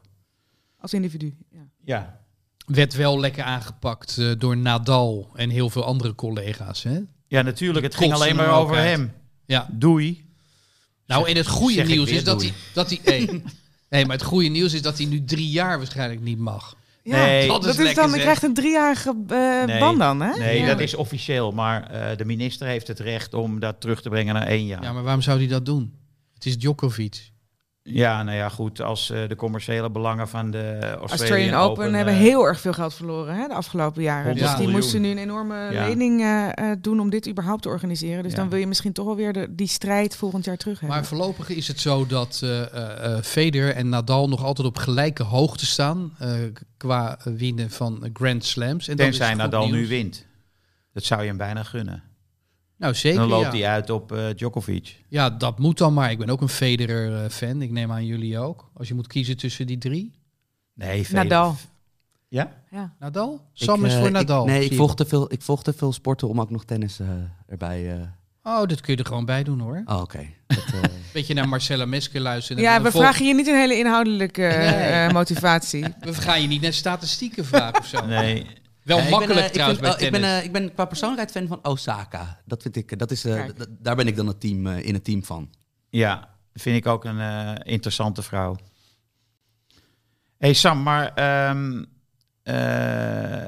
Speaker 6: Als individu. Ja.
Speaker 2: Ja.
Speaker 4: werd wel lekker aangepakt eh, door Nadal en heel veel andere collega's. Hè?
Speaker 2: Ja, natuurlijk. Het
Speaker 4: Die
Speaker 2: ging alleen
Speaker 4: kotsen
Speaker 2: maar
Speaker 4: hem ook
Speaker 2: over
Speaker 4: uit.
Speaker 2: hem.
Speaker 4: Ja.
Speaker 2: Doei.
Speaker 4: Nou, en het goede
Speaker 2: zeg ik
Speaker 4: nieuws
Speaker 2: weer
Speaker 4: is dat
Speaker 2: doei.
Speaker 4: hij... Dat hij hey. Nee, maar het goede nieuws is dat hij nu drie jaar waarschijnlijk niet mag.
Speaker 6: Ja,
Speaker 2: Nee.
Speaker 6: dat,
Speaker 4: Dat is
Speaker 6: is,
Speaker 4: lekker,
Speaker 6: dan, je
Speaker 4: zeg.
Speaker 6: krijgt een driejarige eh,
Speaker 2: Nee.
Speaker 6: ban dan, hè?
Speaker 2: Nee,
Speaker 6: Ja.
Speaker 2: dat is officieel. Maar eh, de minister heeft het recht om dat terug te brengen naar één jaar.
Speaker 4: Ja,
Speaker 2: Ja,
Speaker 4: maar waarom zou hij dat doen? Het is Djokovic.
Speaker 2: nou ja, goed. Als eh, de commerciële belangen van de Australian,
Speaker 6: Australian Open, hebben
Speaker 2: eh,
Speaker 6: heel erg veel geld verloren hè, de afgelopen jaren.
Speaker 2: 100
Speaker 6: Dus die
Speaker 2: miljoen.
Speaker 6: moesten nu een enorme
Speaker 2: Ja.
Speaker 6: lening eh, eh, doen om dit überhaupt te organiseren. Dus
Speaker 2: Ja.
Speaker 6: dan wil je misschien toch wel weer de, die strijd volgend jaar terug hebben.
Speaker 4: Maar voorlopig is het zo dat eh eh, eh, Federer en Nadal nog altijd op gelijke hoogte staan eh, qua winnen van Grand Slams. En dat is
Speaker 2: Tenzij
Speaker 4: goed
Speaker 2: Nadal nu
Speaker 4: nieuws.
Speaker 2: wint. Dat zou je hem bijna gunnen.
Speaker 4: Nou, zeker
Speaker 2: Dan loopt
Speaker 4: ja.
Speaker 2: hij uit op eh, Djokovic.
Speaker 4: Ja, dat moet dan maar. Ik ben ook een Federer-fan. Ik neem aan jullie ook. Als je moet kiezen tussen die drie.
Speaker 2: Nee, Federer-
Speaker 6: Nadal.
Speaker 2: Ja?
Speaker 6: Ja.
Speaker 4: Nadal? Sam
Speaker 3: Ik,
Speaker 4: is
Speaker 3: eh,
Speaker 4: voor
Speaker 3: ik-
Speaker 4: Nadal.
Speaker 3: nee,
Speaker 4: zie
Speaker 3: ik volg, te veel, ik volg te veel sporten om ook nog tennis eh, erbij... eh,
Speaker 4: Oh, dat kun je er gewoon bij doen hoor.
Speaker 3: Oh, oké. Dat, eh,
Speaker 4: Beetje naar Marcella Mesker luisteren.
Speaker 6: ja,
Speaker 4: En
Speaker 6: we
Speaker 4: vol-
Speaker 6: vragen je niet een hele inhoudelijke eh,
Speaker 4: Nee.
Speaker 6: motivatie.
Speaker 4: We gaan je niet naar statistieken vragen of zo.
Speaker 2: Nee.
Speaker 4: Wel
Speaker 3: Ja, ik ben,
Speaker 4: makkelijk
Speaker 3: eh, ik
Speaker 4: trouwens
Speaker 3: vind-
Speaker 4: bij
Speaker 3: oh, ik ben,
Speaker 4: tennis.
Speaker 3: eh, ik ben qua persoonlijkheid fan van Osaka. Dat vind ik, eh, dat is, eh,
Speaker 6: Kijk.
Speaker 3: d- daar ben ik dan het team, eh, in het team van.
Speaker 2: Ja, vind ik ook een eh, interessante vrouw. hey Sam, maar ehm, eh,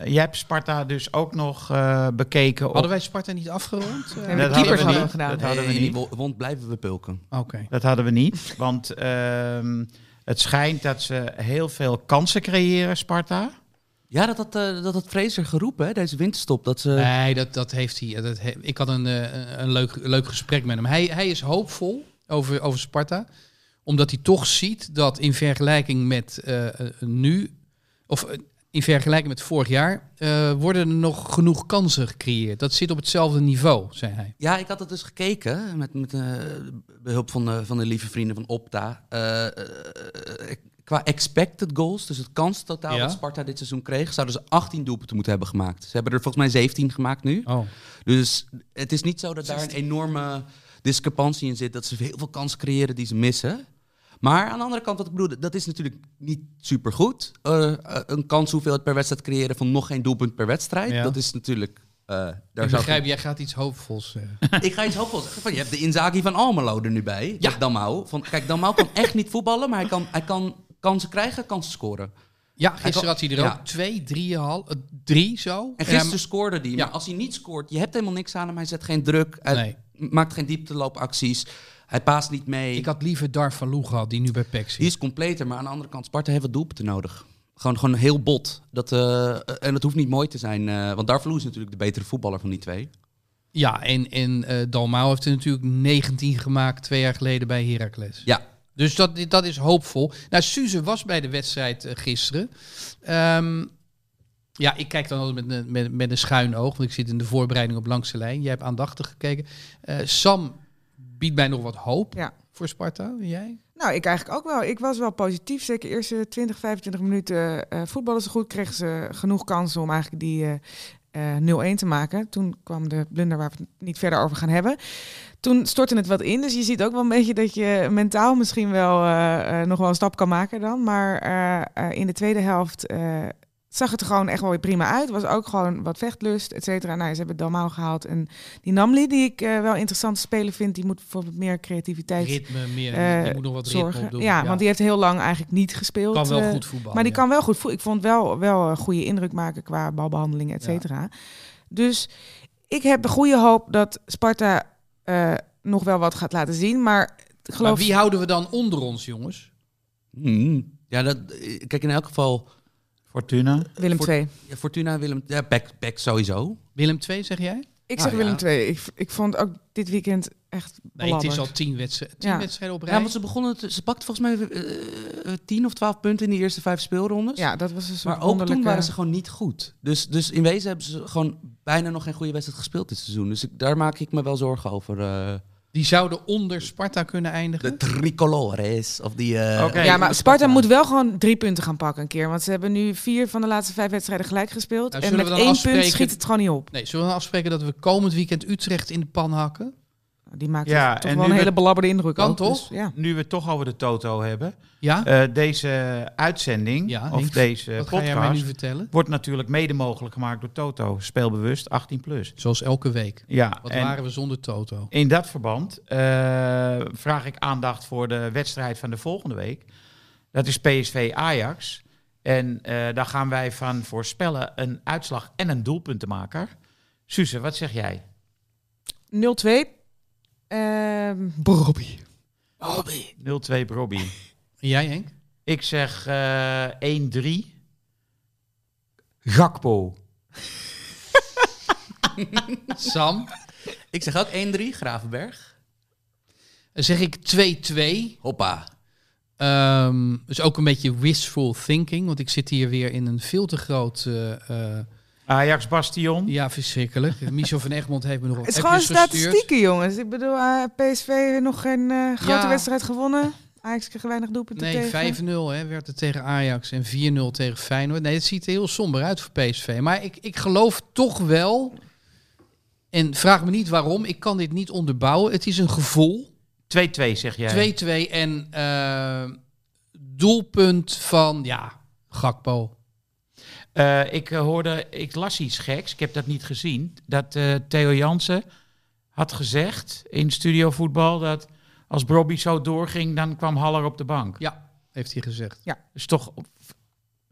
Speaker 2: jij hebt Sparta dus ook nog eh, bekeken. Op...
Speaker 4: Hadden wij Sparta niet afgerond? Eh,
Speaker 6: Nee, de
Speaker 2: hadden
Speaker 6: keepers
Speaker 2: we
Speaker 6: hadden we
Speaker 2: niet.
Speaker 6: gedaan.
Speaker 2: Dat hadden we
Speaker 3: Nee,
Speaker 2: niet.
Speaker 3: die wo- wond blijven we pulken.
Speaker 4: Oké.
Speaker 2: Dat hadden we niet, want ehm, het schijnt dat ze heel veel kansen creëren, Sparta.
Speaker 3: Ja, dat had, eh, dat had Fraser geroepen, hè, deze winterstop. Dat ze,
Speaker 4: Nee, dat, dat heeft hij. Dat he- ik had een, eh, een leuk, leuk gesprek met hem. Hij, hij is hoopvol over, over Sparta. Omdat hij toch ziet dat in vergelijking met eh, eh, nu. Of eh, in vergelijking met vorig jaar. eh, worden er nog genoeg kansen gecreëerd. Dat zit op hetzelfde niveau, zei hij.
Speaker 3: Ja, ik had het dus gekeken met, met eh, behulp van, de- van de lieve vrienden van Opta. Eh, eh, eh, ik Qua expected goals, dus het kanstotaal
Speaker 4: Ja.
Speaker 3: dat Sparta dit seizoen kreeg, zouden ze 18 doelpunten moeten hebben gemaakt. Ze hebben er volgens mij 17 gemaakt nu.
Speaker 4: Oh.
Speaker 3: Dus het is niet zo dat daar een enorme discrepantie in zit. Dat ze heel veel kansen creëren die ze missen. Maar aan de andere kant, wat ik bedoel, dat is natuurlijk niet supergoed. Eh, eh, een kans hoeveelheid per wedstrijd creëren van nog geen doelpunt per wedstrijd.
Speaker 4: Ja.
Speaker 3: Dat is natuurlijk... eh, daar
Speaker 4: Ik
Speaker 3: zou
Speaker 4: begrijp, jij gaat iets hoopvols eh. zeggen.
Speaker 3: ik ga iets hoopvols zeggen. Van, je hebt de Inzaghi van Almelo er nu bij. Ja. Damau. Van, kijk, Damau kan echt niet voetballen, maar hij kan, hij kan kansen krijgen, kansen scoren.
Speaker 4: Ja, gisteren had hij er
Speaker 3: Ja.
Speaker 4: ook twee, drie, hal, eh, drie zo.
Speaker 3: En
Speaker 4: hij-
Speaker 3: gisteren scoorde hij. Maar als hij niet scoort, je hebt helemaal niks aan hem. Hij zet geen druk. Hij
Speaker 4: Nee.
Speaker 3: maakt geen diepteloopacties. Hij paast niet mee.
Speaker 4: ik had liever Dar van Loo gehad, die nu bij PEC
Speaker 3: Die
Speaker 4: zit.
Speaker 3: is completer, maar aan de andere kant, Sparta heeft wat doelpunten nodig. Gewoon, gewoon heel bot. Dat, eh, en dat hoeft niet mooi te zijn. eh, want Darvalu is natuurlijk de betere voetballer van die twee.
Speaker 4: Ja, en, en eh, Dalmau heeft er natuurlijk 19 gemaakt twee jaar geleden bij Heracles.
Speaker 3: Ja,
Speaker 4: Dus dat, dat is hoopvol. Nou, Suze was bij de wedstrijd eh, gisteren. Ehm, ja, ik kijk dan altijd met, een- met, met een schuin oog, want ik zit in de voorbereiding op langs de lijn. Jij hebt aandachtig gekeken. Eh, Sam biedt mij nog wat hoop
Speaker 6: Ja.
Speaker 4: voor Sparta. En jij?
Speaker 6: Nou, ik eigenlijk ook wel. Ik was wel positief. Zeker de eerste 20, 25 minuten eh voetballen ze goed. Kregen ze genoeg kansen om eigenlijk die eh, eh, 0-1 te maken. Toen kwam de blunder waar we het niet verder over gaan hebben. Toen stortte het wat in. Dus je ziet ook wel een beetje dat je mentaal misschien wel eh, eh, nog wel een stap kan maken dan. Maar eh, eh, in de tweede helft eh, zag het er gewoon echt wel weer prima uit. Was ook gewoon wat vechtlust, et cetera. Nou, ze hebben Dalmau gehaald. En die Namli, die ik eh, wel interessant spelen vind, die moet voor wat meer creativiteit
Speaker 4: Ritme meer.
Speaker 6: eh,
Speaker 4: die moet nog wat ritme
Speaker 6: zorgen.
Speaker 4: op doen.
Speaker 6: Ja, want die heeft heel lang eigenlijk niet gespeeld.
Speaker 4: kan wel
Speaker 6: eh,
Speaker 4: goed voetballen.
Speaker 6: Maar die
Speaker 4: ja.
Speaker 6: kan wel goed voetballen. Ik vond wel, wel een goede indruk maken qua balbehandeling, et
Speaker 4: Ja.
Speaker 6: cetera. Dus ik heb de goede hoop dat Sparta eh, nog wel wat gaat laten zien. Maar ik geloof...
Speaker 4: Maar wie houden we dan onder ons, jongens?
Speaker 3: Hmm. ja dat, eh, kijk, in elk geval...
Speaker 2: Fortuna.
Speaker 6: Willem
Speaker 3: Voor-
Speaker 6: II.
Speaker 3: Ja, Fortuna, Willem... Ja, Beck, Beck sowieso.
Speaker 4: Willem 2, zeg jij?
Speaker 6: Ik
Speaker 3: Nou
Speaker 6: zeg
Speaker 3: ja.
Speaker 6: Willem II. Ik, ik vond ook dit weekend echt
Speaker 4: Ah, Nee, het is
Speaker 6: belabberd.
Speaker 4: al tien, wedstri- tien
Speaker 6: Ja.
Speaker 4: wedstrijden op rij.
Speaker 3: Ja, want ze begonnen... te- ze pakten volgens mij eh, 10 of 12 punten in de eerste vijf speelrondes.
Speaker 6: Ja, dat was een soort
Speaker 3: Maar ook toen
Speaker 6: wonderlijke-
Speaker 3: waren ze gewoon niet goed. Dus, dus in wezen hebben ze gewoon bijna nog geen goede wedstrijd gespeeld dit seizoen. Dus ik, daar maak ik me wel zorgen over. eh,
Speaker 4: Die zouden onder Sparta kunnen eindigen.
Speaker 3: de tricolores. Of die, eh,
Speaker 2: Oké.
Speaker 6: ja, maar Sparta moet wel gewoon drie punten gaan pakken een keer. Want ze hebben nu vier van de laatste vijf wedstrijden gelijk gespeeld.
Speaker 4: Nou,
Speaker 6: en
Speaker 4: zullen
Speaker 6: met
Speaker 4: we dan
Speaker 6: één punt
Speaker 4: afspreken-
Speaker 6: schiet het gewoon niet op.
Speaker 4: Nee, zullen we dan afspreken dat we komend weekend Utrecht in de pan hakken?
Speaker 6: Die maakt
Speaker 2: Ja,
Speaker 6: toch
Speaker 2: en
Speaker 6: wel
Speaker 2: nu
Speaker 6: een hele
Speaker 2: we-
Speaker 6: belabberde indruk.
Speaker 4: Kan
Speaker 6: ook,
Speaker 4: toch?
Speaker 6: dus ja.
Speaker 2: Nu we het toch over de Toto hebben.
Speaker 4: Ja?
Speaker 2: eh, deze uitzending,
Speaker 4: Ja,
Speaker 2: of
Speaker 4: Henk,
Speaker 2: deze
Speaker 4: Wat ga jij mij nu
Speaker 2: podcast,
Speaker 4: vertellen?
Speaker 2: wordt natuurlijk mede mogelijk gemaakt door Toto. Speelbewust 18+. Plus.
Speaker 4: Zoals elke week.
Speaker 2: Ja,
Speaker 4: Wat
Speaker 2: en-
Speaker 4: waren we zonder Toto?
Speaker 2: In dat verband eh, vraag ik aandacht voor de wedstrijd van de volgende week. Dat is PSV Ajax. En eh, daar gaan wij van voorspellen een uitslag en een doelpuntenmaker. Suze, wat zeg jij?
Speaker 6: 0-2. Ehm Bobby.
Speaker 2: 0-2 Brobby.
Speaker 4: En jij Henk?
Speaker 2: Ik zeg eh 1-3. Gakpo.
Speaker 4: Sam?
Speaker 3: Ik zeg ook 1-3, Gravenberg.
Speaker 4: Dan zeg ik 2-2.
Speaker 3: Hoppa.
Speaker 4: Ehm dus ook een beetje wishful thinking. Want ik zit hier weer in een veel te groot... eh, eh,
Speaker 2: Ajax Bastion.
Speaker 4: ja, verschrikkelijk. Michel van Egmond heeft me nog
Speaker 6: Het is
Speaker 4: appjes
Speaker 6: gewoon
Speaker 4: gestuurd.
Speaker 6: statistieken, jongens. Ik bedoel, eh, PSV nog geen eh, grote
Speaker 4: Ja.
Speaker 6: wedstrijd gewonnen. Ajax kreeg weinig doelpunten
Speaker 4: Nee,
Speaker 6: tegen.
Speaker 4: 5-0 hè, werd het tegen Ajax en 4-0 tegen Feyenoord. Nee, het ziet er heel somber uit voor PSV. Maar ik, ik geloof toch wel, en vraag me niet waarom, ik kan dit niet onderbouwen. Het is een gevoel.
Speaker 2: 2-2 zeg jij.
Speaker 4: 2-2 en eh, doelpunt van, ja, Gakpo.
Speaker 2: Eh, ik eh, hoorde, ik las iets geks, ik heb dat niet gezien. Dat eh, Theo Jansen had gezegd in Studio Voetbal dat als Brobby zo doorging, dan kwam Haller op de bank.
Speaker 4: Ja, heeft hij gezegd.
Speaker 2: Dat is toch,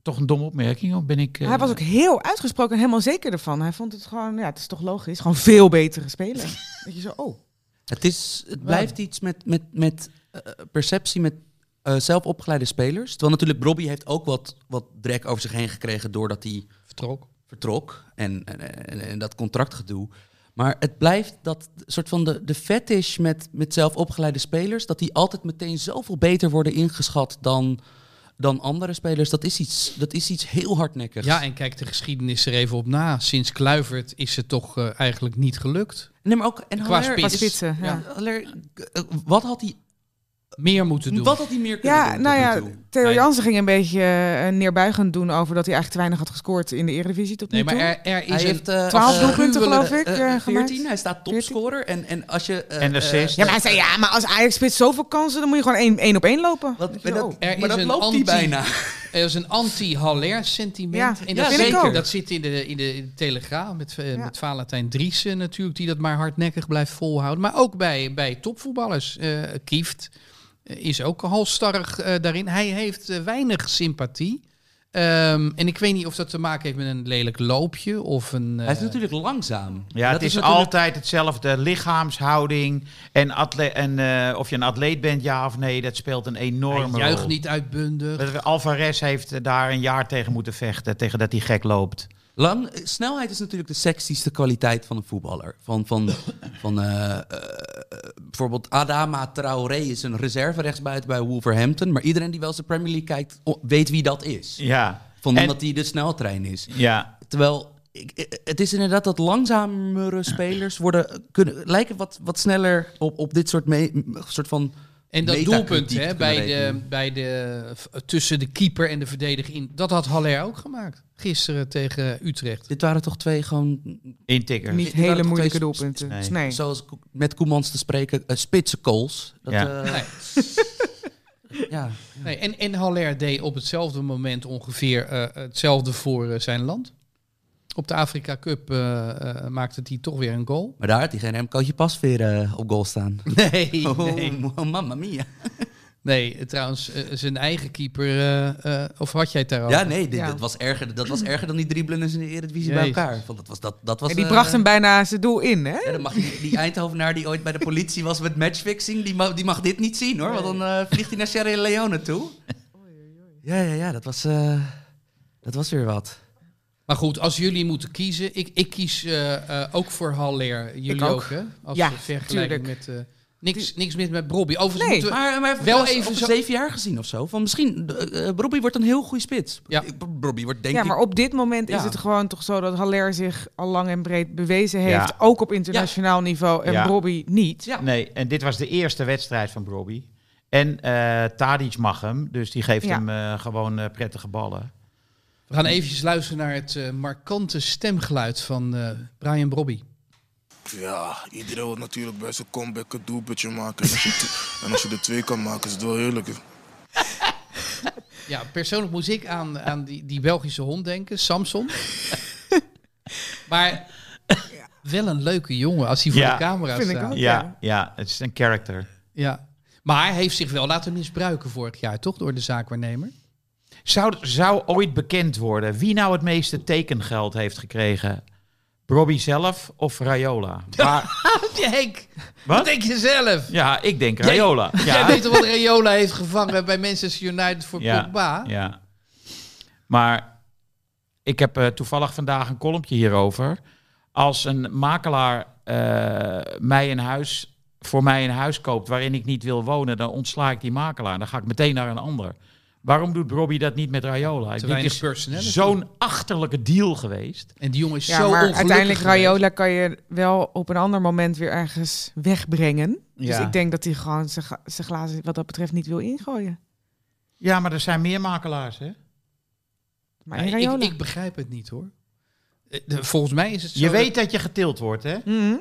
Speaker 2: toch een domme opmerking, of ben ik... eh,
Speaker 6: Hij was ook heel uitgesproken en helemaal zeker ervan. Hij vond het gewoon, ja, het is toch logisch. Gewoon veel betere spelen. dat je zo, oh.
Speaker 3: Het, is, het blijft iets met, met, met eh, perceptie, met eh zelf opgeleide spelers. Terwijl natuurlijk Robbie heeft ook wat, wat drek over zich heen gekregen doordat hij
Speaker 4: Vertrok.
Speaker 3: vertrok en, en, en, en dat contractgedoe. Maar het blijft dat soort van de, de fetish met, met zelf opgeleide spelers, dat die altijd meteen zoveel beter worden ingeschat dan, dan andere spelers. Dat is iets, dat is iets heel hardnekkigs.
Speaker 4: Ja, en kijk de geschiedenis er even op na. Sinds Kluivert is het toch eh, eigenlijk niet gelukt.
Speaker 3: nee, maar ook, en
Speaker 4: Qua
Speaker 3: Haller
Speaker 4: spits.
Speaker 6: Qua
Speaker 3: is-
Speaker 6: spitsen, ja.
Speaker 3: Ja, Haller, eh, wat had hij
Speaker 4: meer moeten doen.
Speaker 3: Wat had hij meer kunnen
Speaker 6: Ja,
Speaker 3: doen
Speaker 6: nou
Speaker 3: tot
Speaker 6: ja,
Speaker 3: nu toe?
Speaker 6: Theo
Speaker 4: Nee.
Speaker 6: Jansen ging een beetje eh, neerbuigend doen over dat hij eigenlijk te weinig had gescoord in de Eredivisie tot nu
Speaker 4: Nee,
Speaker 6: toe.
Speaker 4: maar er, er is
Speaker 3: Hij
Speaker 4: een-
Speaker 3: heeft eh,
Speaker 6: 12
Speaker 3: eh,
Speaker 6: doelpunten, geloof ik,
Speaker 3: eh,
Speaker 6: eh, gemaakt.
Speaker 3: 14, hij staat topscorer. En, en als je... eh,
Speaker 2: En
Speaker 3: eh,
Speaker 2: assist.
Speaker 6: Ja, maar hij zei, ja, maar als Ajax spits zoveel kansen, dan moet je gewoon één, één op één lopen.
Speaker 3: Wat,
Speaker 6: Weet je
Speaker 3: maar
Speaker 6: wel.
Speaker 3: dat,
Speaker 4: Er
Speaker 3: maar
Speaker 4: is
Speaker 3: dat
Speaker 4: een
Speaker 3: loopt hij
Speaker 4: anti-
Speaker 3: bijna.
Speaker 4: Er is een anti-Haller sentiment.
Speaker 6: Ja,
Speaker 4: en
Speaker 6: ja,
Speaker 4: dat,
Speaker 6: vind ik
Speaker 4: zeker,
Speaker 6: ook.
Speaker 4: dat zit in de, in de Telegraaf met, eh,
Speaker 6: Ja.
Speaker 4: met Valentijn Driessen natuurlijk, die dat maar hardnekkig blijft volhouden. Maar ook bij, bij topvoetballers. eh Kieft eh, is ook halstarrig eh, daarin. Hij heeft eh, weinig sympathie. Ehm, en ik weet niet of dat te maken heeft met een lelijk loopje of een... eh,
Speaker 3: Hij is natuurlijk langzaam.
Speaker 2: Ja,
Speaker 3: Dat
Speaker 2: het is,
Speaker 3: natuurlijk-
Speaker 2: altijd hetzelfde. Lichaamshouding en, atle- en eh, of je een atleet bent, ja of nee, dat speelt een
Speaker 4: Hij
Speaker 2: enorme
Speaker 4: juicht
Speaker 2: rol.
Speaker 4: niet uitbundig.
Speaker 2: Dat- Alvarez heeft eh, daar een jaar tegen moeten vechten, tegen dat hij gek loopt.
Speaker 3: Lang, eh, snelheid is natuurlijk de sexyste kwaliteit van een voetballer. Van, van, van eh, eh, bijvoorbeeld Adama Traoré is een reserve rechtsbuiten bij Wolverhampton. Maar iedereen die wel eens de Premier League kijkt, o- weet wie dat is.
Speaker 2: Ja.
Speaker 3: Van
Speaker 2: En-
Speaker 3: omdat hij de sneltrein is.
Speaker 2: Ja,
Speaker 3: Terwijl, ik, eh, het is inderdaad dat langzamere spelers worden, kunnen, lijken wat, wat sneller op, op dit soort, me- m- soort van...
Speaker 4: En dat
Speaker 3: metakritiek
Speaker 4: doelpunt
Speaker 3: te
Speaker 4: hè,
Speaker 3: kunnen
Speaker 4: bij de,
Speaker 3: rekenen.
Speaker 4: bij de, f- tussen de keeper en de verdediger in, dat had Haller ook gemaakt. Gisteren tegen Utrecht.
Speaker 3: Dit waren toch twee gewoon
Speaker 2: intikker.
Speaker 6: Niet
Speaker 3: Die waren
Speaker 6: hele
Speaker 3: toch
Speaker 6: moeilijke
Speaker 3: twee-
Speaker 6: doelpunten.
Speaker 2: Nee.
Speaker 6: Dus nee.
Speaker 3: zoals Ko- met Koemans te spreken, eh, spitse calls. Dat,
Speaker 2: Ja.
Speaker 3: eh, ja.
Speaker 4: Nee, en, en Haller deed op hetzelfde moment ongeveer eh, hetzelfde voor eh, zijn land. Op de Afrika Cup eh, eh, maakte hij toch weer een goal.
Speaker 3: Maar daar had hij geen remcootje Pasveer eh, op goal staan.
Speaker 4: Nee, nee.
Speaker 3: Oh, oh, mamma mia.
Speaker 4: nee eh, trouwens, eh, zijn eigen keeper, eh, eh, of had jij het daarover?
Speaker 3: Ja, nee, dit,
Speaker 6: Ja.
Speaker 3: dit was erger, dat was erger dan die drieblunders in de Eredivisie bij
Speaker 4: Jezus.
Speaker 3: elkaar. Want dat was, dat, dat was,
Speaker 6: en die
Speaker 3: eh,
Speaker 6: bracht hem bijna zijn doel in, hè?
Speaker 3: ja, dan mag die, die Eindhovenaar die ooit bij de politie was met matchfixing, die, ma- die mag dit niet zien hoor. Want dan eh, vliegt hij naar Sierra Leone toe. Ja, ja, ja, dat was, eh, dat was weer wat.
Speaker 4: Maar goed, als jullie moeten kiezen, ik, ik kies eh, eh, ook voor Haller. Jullie
Speaker 6: Ik
Speaker 4: ook.
Speaker 6: ook.
Speaker 4: hè? Als
Speaker 6: Ja,
Speaker 4: we vergelijking
Speaker 6: tuurlijk.
Speaker 4: met... eh, niks, niks mis met Bobby. Overigens
Speaker 6: Nee,
Speaker 4: moeten we-
Speaker 3: Maar, maar
Speaker 4: Wel
Speaker 3: wel
Speaker 4: even
Speaker 3: even
Speaker 4: zo-
Speaker 3: zeven jaar gezien of zo. Van misschien, eh, eh, Robbie wordt een heel goede spits.
Speaker 4: Ja.
Speaker 3: Ik- Robbie wordt denk
Speaker 6: ja,
Speaker 3: ik
Speaker 6: maar op dit moment
Speaker 3: Ja.
Speaker 6: is het gewoon toch zo dat Haller zich al lang en breed bewezen
Speaker 2: Ja.
Speaker 6: heeft. Ook op internationaal niveau en
Speaker 2: Ja.
Speaker 6: Robbie niet.
Speaker 3: Ja.
Speaker 2: Nee, en dit was de eerste wedstrijd van Robbie. En eh Tadic mag hem, dus die geeft
Speaker 6: Ja.
Speaker 2: hem eh, gewoon eh, prettige ballen.
Speaker 4: We gaan eventjes luisteren naar het eh, markante stemgeluid van eh, Brian Brobby.
Speaker 8: Ja, iedereen wil natuurlijk bij zijn comeback een doelpuntje maken. En als, je t- en als je er twee kan maken, is het wel heerlijker.
Speaker 4: Ja, persoonlijk moest ik aan, aan die, die Belgische hond denken, Samson. maar wel een leuke jongen als hij voor
Speaker 2: Ja.
Speaker 4: de camera
Speaker 6: Vind ik
Speaker 4: staat.
Speaker 6: ook.
Speaker 2: Ja, ja, het is een character.
Speaker 4: Ja. Maar hij heeft zich wel laten misbruiken vorig jaar, toch? Door de zaakwaarnemer.
Speaker 2: Zou, zou ooit bekend worden wie nou het meeste tekengeld heeft gekregen? Robbie zelf of Rayola? Waar-
Speaker 4: Henk, wat
Speaker 2: wat?
Speaker 4: denk je zelf?
Speaker 2: Ja, ik denk Rayola.
Speaker 4: Jij
Speaker 2: Ja,
Speaker 4: weet toch wat Rayola heeft gevangen bij Manchester United voor
Speaker 2: ja,
Speaker 4: Pogba?
Speaker 2: ja. Maar ik heb eh, toevallig vandaag een kolompje hierover. Als een makelaar eh, mij een huis, voor mij een huis koopt waarin ik niet wil wonen, dan ontsla ik die makelaar. Dan ga ik meteen naar een ander. Waarom doet Robbie dat niet met Rayola? Ik
Speaker 4: Te
Speaker 2: denk,
Speaker 4: weinig
Speaker 2: het is
Speaker 4: personality.
Speaker 2: zo'n achterlijke deal geweest.
Speaker 4: En die jongen is
Speaker 6: Ja,
Speaker 4: zo
Speaker 6: maar
Speaker 4: ongelukkig
Speaker 6: uiteindelijk
Speaker 4: geweest.
Speaker 6: Rayola kan je wel op een ander moment weer ergens wegbrengen. Dus
Speaker 2: Ja.
Speaker 6: ik denk dat hij gewoon zijn gla- zijn glazen wat dat betreft niet wil ingooien.
Speaker 2: Ja, maar er zijn meer makelaars, hè?
Speaker 6: Maar in
Speaker 4: Nee,
Speaker 6: Rayola.
Speaker 4: Ik, ik begrijp het niet hoor. Eh, de- Volgens mij is het zo.
Speaker 2: Je
Speaker 4: dat-
Speaker 2: weet dat je getild wordt, hè?
Speaker 6: Mhm.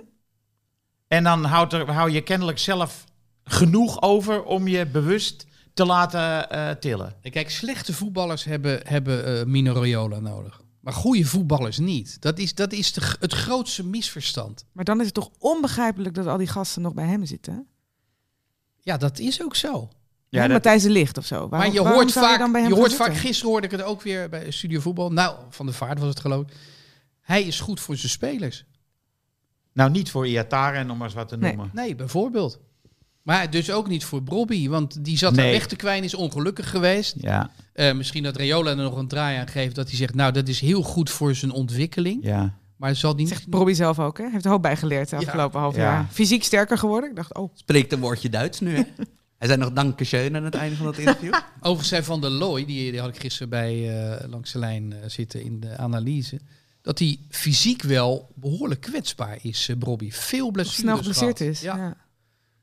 Speaker 2: En dan houdt er, hou je kennelijk zelf genoeg over om je bewust te laten eh, tillen.
Speaker 4: Kijk, slechte voetballers hebben, hebben eh, Mino Raiola nodig. Maar goede voetballers niet. Dat is, dat is de g- het grootste misverstand.
Speaker 6: Maar dan is het toch onbegrijpelijk dat al die gasten nog bij hem zitten.
Speaker 4: Ja, dat is ook zo.
Speaker 6: Ja, Matthijs de Licht of zo.
Speaker 4: Maar
Speaker 6: Waarom-
Speaker 4: je
Speaker 6: waarom
Speaker 4: hoort
Speaker 6: zou
Speaker 4: vaak,
Speaker 6: dan bij
Speaker 4: je,
Speaker 6: hem gaan
Speaker 4: hoort vaak
Speaker 6: zitten?
Speaker 4: gisteren hoorde ik het ook weer bij Studio Voetbal. Nou, Van der Vaart was het geloof ik. Hij is goed voor zijn spelers.
Speaker 2: Nou, niet voor Iataren, om maar eens wat te
Speaker 6: Nee.
Speaker 2: noemen.
Speaker 4: Nee, bijvoorbeeld. Maar dus ook niet voor Bobby, want die zat daar
Speaker 2: Nee.
Speaker 4: weg te kwijnen, is ongelukkig geweest.
Speaker 2: Ja,
Speaker 4: Eh, misschien dat Rayola er nog een draai aan geeft, dat hij zegt, nou, dat is heel goed voor zijn ontwikkeling.
Speaker 2: ja.
Speaker 4: Maar zal die
Speaker 6: Zegt Robbie zelf ook, hè? Heeft er hoop bij geleerd de
Speaker 4: Ja.
Speaker 6: afgelopen half
Speaker 2: Ja.
Speaker 6: jaar. Fysiek sterker geworden. Ik dacht, oh,
Speaker 3: Spreekt een woordje Duits nu, hè? Hij zei nog dankeschön aan het einde van dat interview.
Speaker 4: Overigens zei Van der Looy, die, die had ik gisteren bij eh, Langs de Lijn eh, zitten in de analyse... dat hij fysiek wel behoorlijk kwetsbaar is, eh Robbie. Veel blessures
Speaker 6: snel geblesseerd
Speaker 4: gehad.
Speaker 6: is. Ja.
Speaker 4: Ja.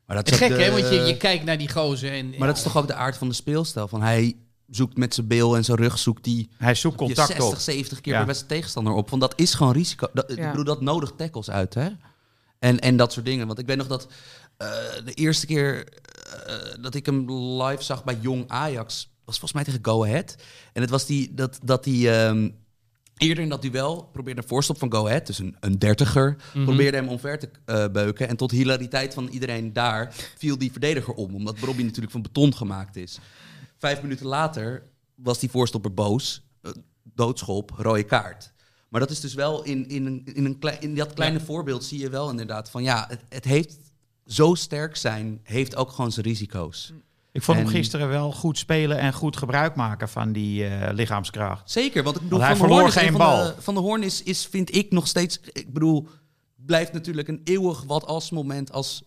Speaker 3: Maar dat
Speaker 4: Het is
Speaker 3: ook
Speaker 4: gek,
Speaker 3: de-
Speaker 4: hè? Want je, je kijkt naar die gozer en...
Speaker 3: Maar dat is toch ook de aard van de speelstijl. Van hij zoekt met zijn beel en zijn rug zoekt die
Speaker 2: Hij zoekt
Speaker 3: je
Speaker 2: contact
Speaker 3: 60,
Speaker 2: op.
Speaker 3: 70 keer
Speaker 2: Ja.
Speaker 3: per wedstrijd tegenstander op. Want dat is gewoon risico. Dat,
Speaker 6: Ja.
Speaker 3: Ik bedoel, dat nodigt tackles uit, hè? En, en dat soort dingen. Want ik weet nog dat eh, de eerste keer eh, dat ik hem live zag bij Jong Ajax... was volgens mij tegen Go Ahead. En het was die, dat, dat die... ehm, Eerder in dat duel probeerde een voorstop van Go Ahead, dus een, een dertiger, probeerde hem omver te eh, beuken. En tot hilariteit van iedereen daar viel die verdediger om, omdat Robbie natuurlijk van beton gemaakt is. Vijf minuten later was die voorstopper boos, eh, doodschop, rode kaart. Maar dat is dus wel in, in, een- in, een klei- in dat kleine voorbeeld zie je wel inderdaad van ja, het, het heeft zo sterk zijn, heeft ook gewoon zijn risico's.
Speaker 2: Ik vond
Speaker 3: En-
Speaker 2: hem gisteren wel goed spelen en goed gebruik maken van die eh, lichaamskracht.
Speaker 3: Zeker, want ik bedoel,
Speaker 2: Want hij
Speaker 3: Van de Hoorn
Speaker 2: verloor
Speaker 3: is
Speaker 2: geen
Speaker 3: een van de-
Speaker 2: bal.
Speaker 3: Van de Hoorn is, is, vind ik nog steeds, ik bedoel, blijft natuurlijk een eeuwig wat als moment als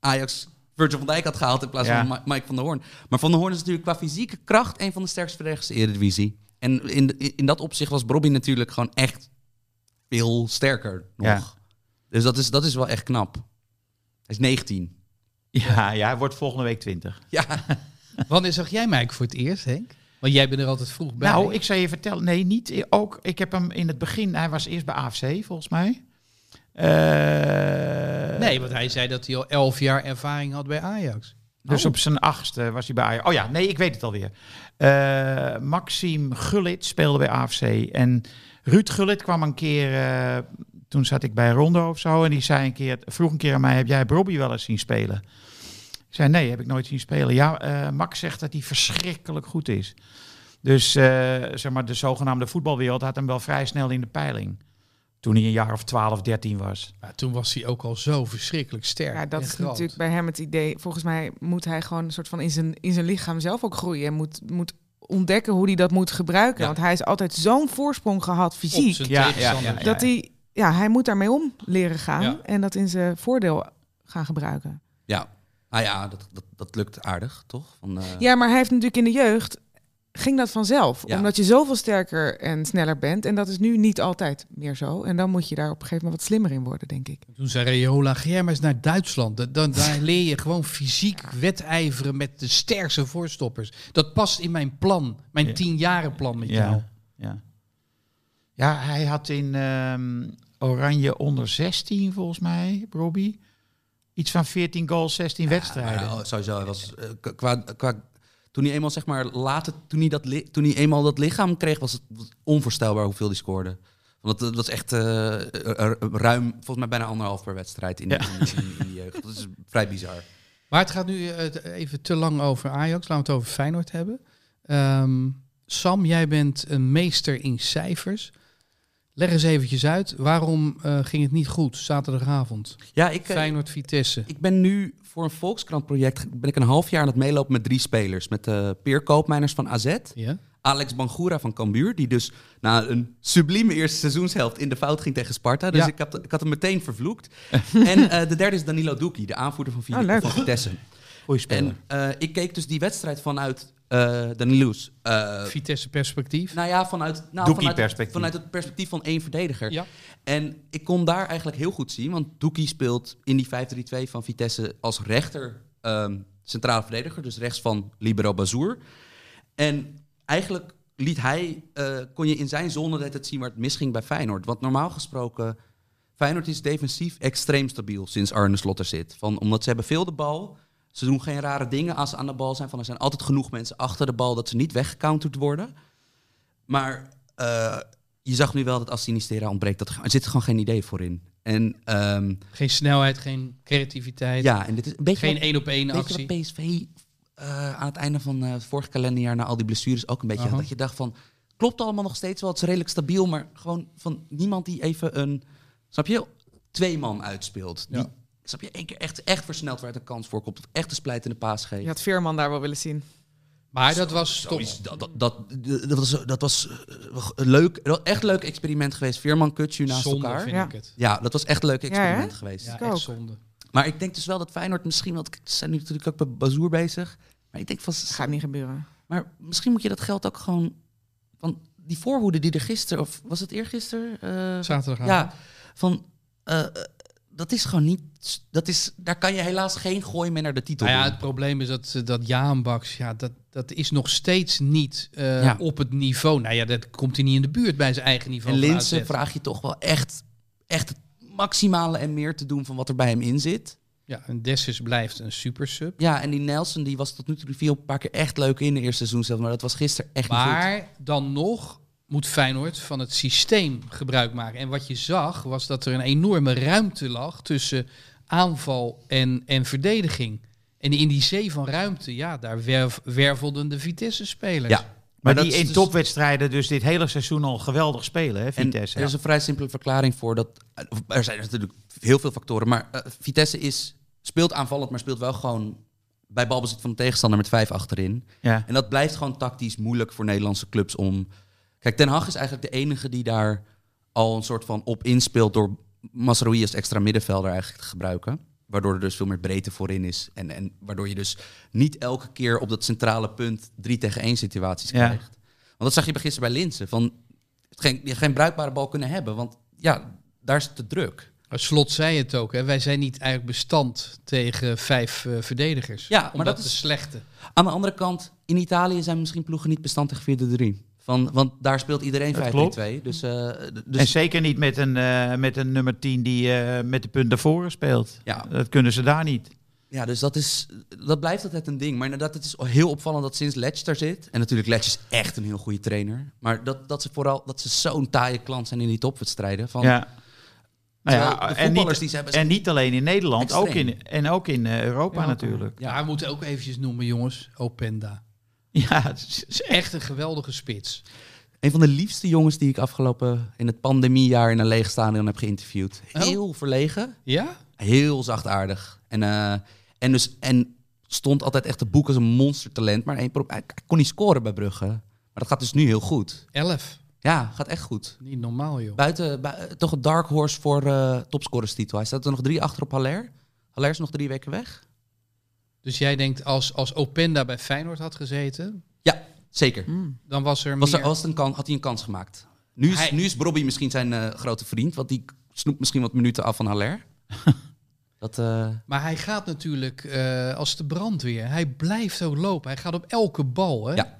Speaker 3: Ajax Virgil van Dijk had gehaald in plaats
Speaker 2: Ja.
Speaker 3: van Ma- Mike van der Hoorn. Maar Van der Hoorn is natuurlijk qua fysieke kracht een van de sterkste verdedigers in de Eredivisie. En in, in dat opzicht was Bobby natuurlijk gewoon echt veel sterker nog.
Speaker 2: Ja.
Speaker 3: Dus dat is, dat is wel echt knap. Hij is 19.
Speaker 2: Ja, ja, hij wordt volgende week 20.
Speaker 3: Ja,
Speaker 4: Wanneer zag jij Mike voor het eerst, Henk? Want jij bent er altijd vroeg bij.
Speaker 2: Nou, ik zou je vertellen. Nee, niet. i- Ook, ik heb hem in het begin. Hij was eerst bij AFC, volgens mij. Eh,
Speaker 4: Nee, want hij zei dat hij al elf jaar ervaring had bij Ajax.
Speaker 2: Dus op zijn achtste was hij bij Ajax. Oh ja, nee, ik weet het alweer. Eh Maxime Gullit speelde bij AFC. En Ruud Gullit kwam een keer... eh, toen zat ik bij Rondo of zo. En die zei een keer, vroeg een keer aan mij... Heb jij Robbie wel eens zien spelen? Ik zei, nee, heb ik nooit zien spelen. Ja, eh, Max zegt dat hij verschrikkelijk goed is. Dus eh, zeg maar, de zogenaamde voetbalwereld had hem wel vrij snel in de peiling. Toen hij een jaar of 12, 13 was.
Speaker 4: Maar toen was hij ook al zo verschrikkelijk sterk.
Speaker 6: Ja, dat
Speaker 4: en
Speaker 6: is
Speaker 4: groot.
Speaker 6: natuurlijk bij hem het idee. Volgens mij moet hij gewoon een soort van in zijn, in zijn lichaam zelf ook groeien. En moet, moet ontdekken hoe hij dat moet gebruiken.
Speaker 3: Ja.
Speaker 6: Want hij heeft altijd zo'n voorsprong gehad
Speaker 4: Op
Speaker 6: fysiek.
Speaker 4: zijn
Speaker 2: Ja, ja,
Speaker 4: tegenstander.
Speaker 2: ja, ja.
Speaker 6: Dat hij, ja, hij moet daarmee om leren gaan.
Speaker 4: Ja.
Speaker 6: En dat in zijn voordeel gaan gebruiken.
Speaker 3: ja. Ah ja, dat, dat, dat lukt aardig, toch? Van, eh,
Speaker 6: Ja, maar hij heeft natuurlijk in de jeugd ging dat vanzelf.
Speaker 3: Ja.
Speaker 6: Omdat je zoveel sterker en sneller bent. En dat is nu niet altijd meer zo. En dan moet je daar op een gegeven moment wat slimmer in worden, denk ik.
Speaker 4: Toen zei Reola, ga jij maar eens naar Duitsland. Da- Dan, daar leer je gewoon fysiek wedijveren met de sterkste voorstoppers. Dat past in mijn plan, mijn
Speaker 2: Ja.
Speaker 4: tienjarenplan met jou.
Speaker 2: Ja. ja, hij had in ehm, Oranje onder 16 volgens mij, Robbie. Iets van 14 goals, 16 wedstrijden.
Speaker 3: Maar, eh, sowieso, hij was eh, k- qua, qua toen hij eenmaal zeg maar later, toen hij dat li- toen hij eenmaal dat lichaam kreeg, was het was onvoorstelbaar hoeveel hij scoorde. Want dat was echt eh, r- ruim, volgens mij bijna anderhalf per wedstrijd in, in, in, in de jeugd. Dat is vrij bizar.
Speaker 4: Maar het gaat nu eh, t- even te lang over Ajax. Laten we het over Feyenoord hebben. Ehm, Sam, jij bent een meester in cijfers. Leg eens eventjes uit, waarom eh, ging het niet goed zaterdagavond?
Speaker 3: Ja, ik, eh,
Speaker 4: Feyenoord-Vitesse.
Speaker 3: ik ben nu voor een Volkskrant project ben ik een half jaar aan het meelopen met drie spelers. Met eh Peer Koopmeiners van AZ,
Speaker 4: Ja?
Speaker 3: Alex Bangura van Cambuur, die dus na een sublieme eerste seizoenshelft in de fout ging tegen Sparta. Dus
Speaker 4: Ja.
Speaker 3: ik, had, ik had hem meteen vervloekt. en eh, de derde is Danilo Doekie, de aanvoerder van, Vi-
Speaker 6: Oh, leuk.
Speaker 3: van Vitesse.
Speaker 2: Goeie speler.
Speaker 3: En eh, ik keek dus die wedstrijd vanuit eh Danilo's. eh,
Speaker 4: Vitesse perspectief.
Speaker 3: nou ja, vanuit, nou,
Speaker 2: Doekie
Speaker 3: vanuit,
Speaker 2: perspectief.
Speaker 3: vanuit het perspectief van één verdediger.
Speaker 4: Ja.
Speaker 3: En ik kon daar eigenlijk heel goed zien, want Doekie speelt in die 5-3-2 van Vitesse als rechter ehm, centrale verdediger, dus rechts van Libero Bazour. En eigenlijk liet hij, eh, kon je in zijn zone net het zien waar het misging bij Feyenoord. Want normaal gesproken, Feyenoord is defensief extreem stabiel sinds Arne Slot er zit. Van, omdat ze hebben veel de bal, ze doen geen rare dingen als ze aan de bal zijn. Van, er zijn altijd genoeg mensen achter de bal dat ze niet weggecounterd worden. Maar eh, je zag nu wel dat als Sinistera ontbreekt, dat, er zit gewoon geen idee voor in. En ehm,
Speaker 4: Geen snelheid, geen creativiteit.
Speaker 3: ja, en dit is een beetje
Speaker 4: Geen
Speaker 3: wat-
Speaker 4: één op één
Speaker 3: Weet je
Speaker 4: actie.
Speaker 3: wat PSV eh, aan het einde van eh, het vorig kalenderjaar na al die blessures ook een beetje
Speaker 4: Aha.
Speaker 3: had? Dat je dacht van, klopt allemaal nog steeds wel, het is redelijk stabiel, maar gewoon van niemand die even een, snap je, twee man uitspeelt. Die,
Speaker 4: Ja.
Speaker 3: snap je, één keer echt, echt versneld waar het een kans voor komt, of echt een splijtende paas geeft.
Speaker 6: Je had Veerman daar wel willen zien.
Speaker 4: Maar dat was top.
Speaker 3: Zoiets, Dat, dat, dat, dat was, dat was eh, een leuk, echt leuk experiment geweest. Veerman, Kutsu naast
Speaker 4: Zonde
Speaker 3: elkaar.
Speaker 4: vind
Speaker 6: Ja.
Speaker 4: ik het.
Speaker 3: Ja, dat was echt een leuk experiment
Speaker 6: hè?
Speaker 3: geweest.
Speaker 4: Ja,
Speaker 6: Ik
Speaker 4: echt
Speaker 6: ook.
Speaker 4: zonde.
Speaker 3: Maar ik denk dus wel dat Feyenoord misschien, want ze zijn nu natuurlijk ook bij Bazoer bezig. Maar ik denk van,
Speaker 6: Gaat niet gebeuren.
Speaker 3: maar misschien moet je dat geld ook gewoon. Van die voorhoede die er gisteren, of was het eergisteren? eh
Speaker 4: Zaterdagavond.
Speaker 3: ja, van. eh, eh, dat is gewoon niet... Dat is, daar kan je helaas geen gooi meer naar de titel
Speaker 4: Nou ja,
Speaker 3: doen.
Speaker 4: het probleem is dat, eh, dat Jaan Baks, ja, dat, dat is nog steeds niet eh,
Speaker 3: Ja.
Speaker 4: op het niveau. Nou ja, dat komt hij niet in de buurt bij zijn eigen niveau.
Speaker 3: En
Speaker 4: van
Speaker 3: Linsen
Speaker 4: AZ.
Speaker 3: vraag je toch wel echt, echt het maximale en meer te doen van wat er bij hem in zit.
Speaker 4: Ja, en Dessus blijft een supersub.
Speaker 3: Ja, en die Nelson die was tot nu toe die viel een paar keer echt leuk in de eerste seizoen zelf, maar dat was gisteren echt niet goed.
Speaker 4: Maar dan nog moet Feyenoord van het systeem gebruik maken. En wat je zag was dat er een enorme ruimte lag tussen aanval en, en verdediging. En in die zee van ruimte, ja, daar werf- wervelden de Vitesse-spelers.
Speaker 3: Ja.
Speaker 2: Maar,
Speaker 3: dat
Speaker 2: die
Speaker 3: is
Speaker 2: in
Speaker 3: dus-
Speaker 2: topwedstrijden dus dit hele seizoen al geweldig spelen, hè,
Speaker 3: En dus-
Speaker 2: Vitesse.
Speaker 3: er is een vrij simpele verklaring voor dat. Er zijn natuurlijk heel veel factoren, maar eh, Vitesse is, speelt aanvallend, maar speelt wel gewoon bij balbezit van de tegenstander met vijf achterin.
Speaker 2: ja.
Speaker 3: En dat blijft gewoon tactisch moeilijk voor Nederlandse clubs om. Kijk, Ten Hag is eigenlijk de enige die daar al een soort van op inspeelt door Masraoui als extra middenvelder eigenlijk te gebruiken. Waardoor er dus veel meer breedte voorin is. En, en waardoor je dus niet elke keer op dat centrale punt drie tegen één situaties
Speaker 2: Ja.
Speaker 3: krijgt. Want dat zag je bij gisteren bij Linsen. Van geen, je geen bruikbare bal kunnen hebben. Want ja, daar is het te druk.
Speaker 4: Maar Slot zei het ook, hè. wij zijn niet eigenlijk bestand tegen vijf eh, verdedigers.
Speaker 3: Ja, maar
Speaker 4: Omdat
Speaker 3: dat
Speaker 4: de
Speaker 3: is-
Speaker 4: slechte.
Speaker 3: Aan de andere kant, in Italië zijn misschien ploegen niet bestand tegen 4-3. Van, want daar speelt iedereen
Speaker 2: Dat
Speaker 3: 5-3-2. Dus, eh, d- dus
Speaker 2: en zeker niet met een, eh, met een nummer 10 die eh, met de punt daarvoor speelt.
Speaker 3: Ja.
Speaker 2: Dat kunnen ze daar niet.
Speaker 3: Ja, dus dat, is, dat blijft altijd een ding. Maar inderdaad, het is heel opvallend dat sinds Letch daar zit. En natuurlijk, Letch is echt een heel goede trainer. Maar dat, dat ze vooral dat ze zo'n taaie klant zijn in die topwedstrijden. Van,
Speaker 2: Ja. Nou
Speaker 3: Terwijl
Speaker 2: ja,
Speaker 3: de
Speaker 2: en
Speaker 3: voetballers
Speaker 2: niet,
Speaker 3: die ze hebben zijn
Speaker 2: en niet alleen in Nederland, ook
Speaker 3: extreem.
Speaker 2: in, en ook in eh, Europa
Speaker 4: Ja, ook.
Speaker 2: natuurlijk.
Speaker 4: Ja, we moeten ook eventjes noemen, jongens, Openda.
Speaker 2: Ja, het is-
Speaker 4: Het is echt een geweldige spits.
Speaker 3: Een van de liefste jongens die ik afgelopen in het pandemiejaar in een leeg stadion heb geïnterviewd. Heel verlegen,
Speaker 4: Ja?
Speaker 3: heel zachtaardig. En, eh, en, dus, en stond altijd echt te boek als een monstertalent. Maar één pro- hij hij kon niet scoren bij Brugge. Maar dat gaat dus nu heel goed.
Speaker 4: Elf.
Speaker 3: Ja, gaat echt goed.
Speaker 4: Niet normaal, joh.
Speaker 3: Buiten, bui- eh, toch een dark horse voor eh topscorerstitel. Hij staat er nog drie achter op Haller. Haller is nog drie weken weg.
Speaker 4: Dus jij denkt, als, als Openda bij Feyenoord had gezeten,
Speaker 3: Ja, zeker.
Speaker 4: dan was er
Speaker 3: Was
Speaker 4: meer...
Speaker 3: er, was het een kan, had hij een kans gemaakt? Nu is,
Speaker 4: Hij-
Speaker 3: nu is Brobby misschien zijn eh, grote vriend, want die snoept misschien wat minuten af van Haller. dat, eh,
Speaker 4: Maar hij gaat natuurlijk eh, als de brandweer. Hij blijft ook lopen. Hij gaat op elke bal, hè?
Speaker 3: Ja.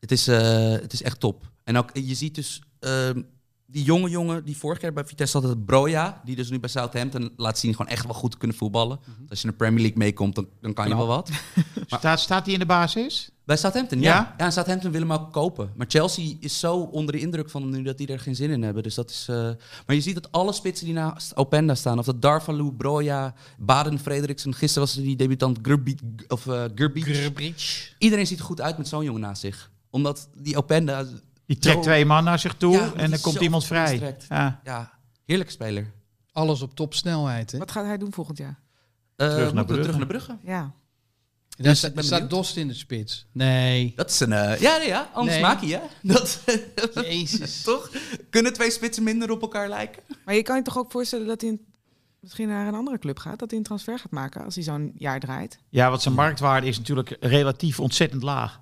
Speaker 3: het, is, eh, het is echt top. En ook, je ziet dus ehm, die jonge jongen die vorig jaar bij Vitesse had, het Broja, die dus nu bij Southampton laat zien gewoon echt wel goed te kunnen voetballen. Want Als je in de Premier League meekomt, dan, dan kan je wel wat.
Speaker 2: staat, staat hij in de basis?
Speaker 3: Bij Southampton, ja.
Speaker 2: Ja?
Speaker 3: ja. en Southampton wil hem ook kopen. Maar Chelsea is zo onder de indruk van hem nu dat die er geen zin in hebben. Dus dat is, eh, Maar je ziet dat alle spitsen die naast Openda staan... of dat Darvalu, Broja, Baden, Frederiksen... gisteren was er die debutant Gurbic... Of, eh Gurbic.
Speaker 4: Grbrich.
Speaker 3: Iedereen ziet er goed uit met zo'n jongen naast zich. Omdat die Openda...
Speaker 2: Die trekt
Speaker 3: zo-
Speaker 2: twee man naar zich toe
Speaker 3: Ja, die
Speaker 2: en dan
Speaker 3: is
Speaker 2: komt
Speaker 3: zo
Speaker 2: iemand vrij.
Speaker 3: verstrekt.
Speaker 2: Ja.
Speaker 3: Ja, heerlijke speler.
Speaker 4: Alles op topsnelheid, hè?
Speaker 6: Wat gaat hij doen volgend jaar?
Speaker 3: Eh,
Speaker 2: naar
Speaker 3: moeten we
Speaker 2: Brugge.
Speaker 3: Terug naar Brugge.
Speaker 6: Ja.
Speaker 4: Daar
Speaker 3: Dus ik
Speaker 4: staat,
Speaker 3: ben
Speaker 4: staat
Speaker 3: benieuwd.
Speaker 4: Dost in de spits. Nee.
Speaker 3: Dat is een... eh, ja, nee, ja, anders
Speaker 4: Nee.
Speaker 3: maak je, hè? Dat,
Speaker 4: Jezus.
Speaker 3: toch? Kunnen twee spitsen minder op elkaar lijken?
Speaker 6: Maar je kan je toch ook voorstellen dat hij een- misschien naar een andere club gaat? Dat hij een transfer gaat maken als hij zo'n jaar draait?
Speaker 2: ja, want zijn marktwaarde is natuurlijk relatief ontzettend laag.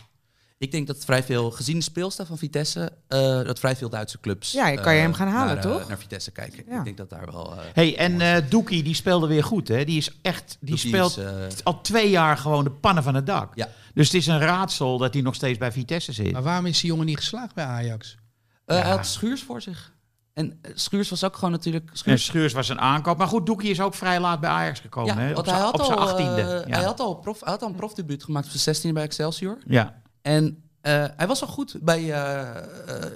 Speaker 3: Ik denk dat vrij veel, gezien de speelstijl van Vitesse, eh, dat vrij veel Duitse clubs.
Speaker 6: Ja, kan je
Speaker 3: eh,
Speaker 6: hem gaan halen,
Speaker 3: naar, eh,
Speaker 6: toch?
Speaker 3: naar Vitesse kijken.
Speaker 6: Ja.
Speaker 3: Ik denk dat daar wel. eh,
Speaker 2: hey, en eh Doekie die speelde weer goed, hè? Die is echt, die
Speaker 3: Doekie
Speaker 2: speelt
Speaker 3: is, eh,
Speaker 2: al twee jaar gewoon de pannen van het dak.
Speaker 3: Ja.
Speaker 2: Dus het is een raadsel dat hij nog steeds bij Vitesse zit.
Speaker 4: Maar waarom is die jongen niet geslaagd bij Ajax?
Speaker 3: eh, Hij had Schuurs voor zich. En eh, Schuurs was ook gewoon natuurlijk.
Speaker 2: En
Speaker 3: Schuurs,
Speaker 2: Schuurs was een aankoop. Maar goed, Doekie is ook vrij laat bij Ajax gekomen. hè? Op
Speaker 3: want
Speaker 2: zijn
Speaker 3: hij had,
Speaker 2: op zijn
Speaker 3: al,
Speaker 2: 18e.
Speaker 3: eh,
Speaker 2: ja.
Speaker 3: hij had al prof, hij had al een profdebuut gemaakt op zijn 16 bij Excelsior.
Speaker 2: ja.
Speaker 3: En eh, hij was al goed bij eh, eh,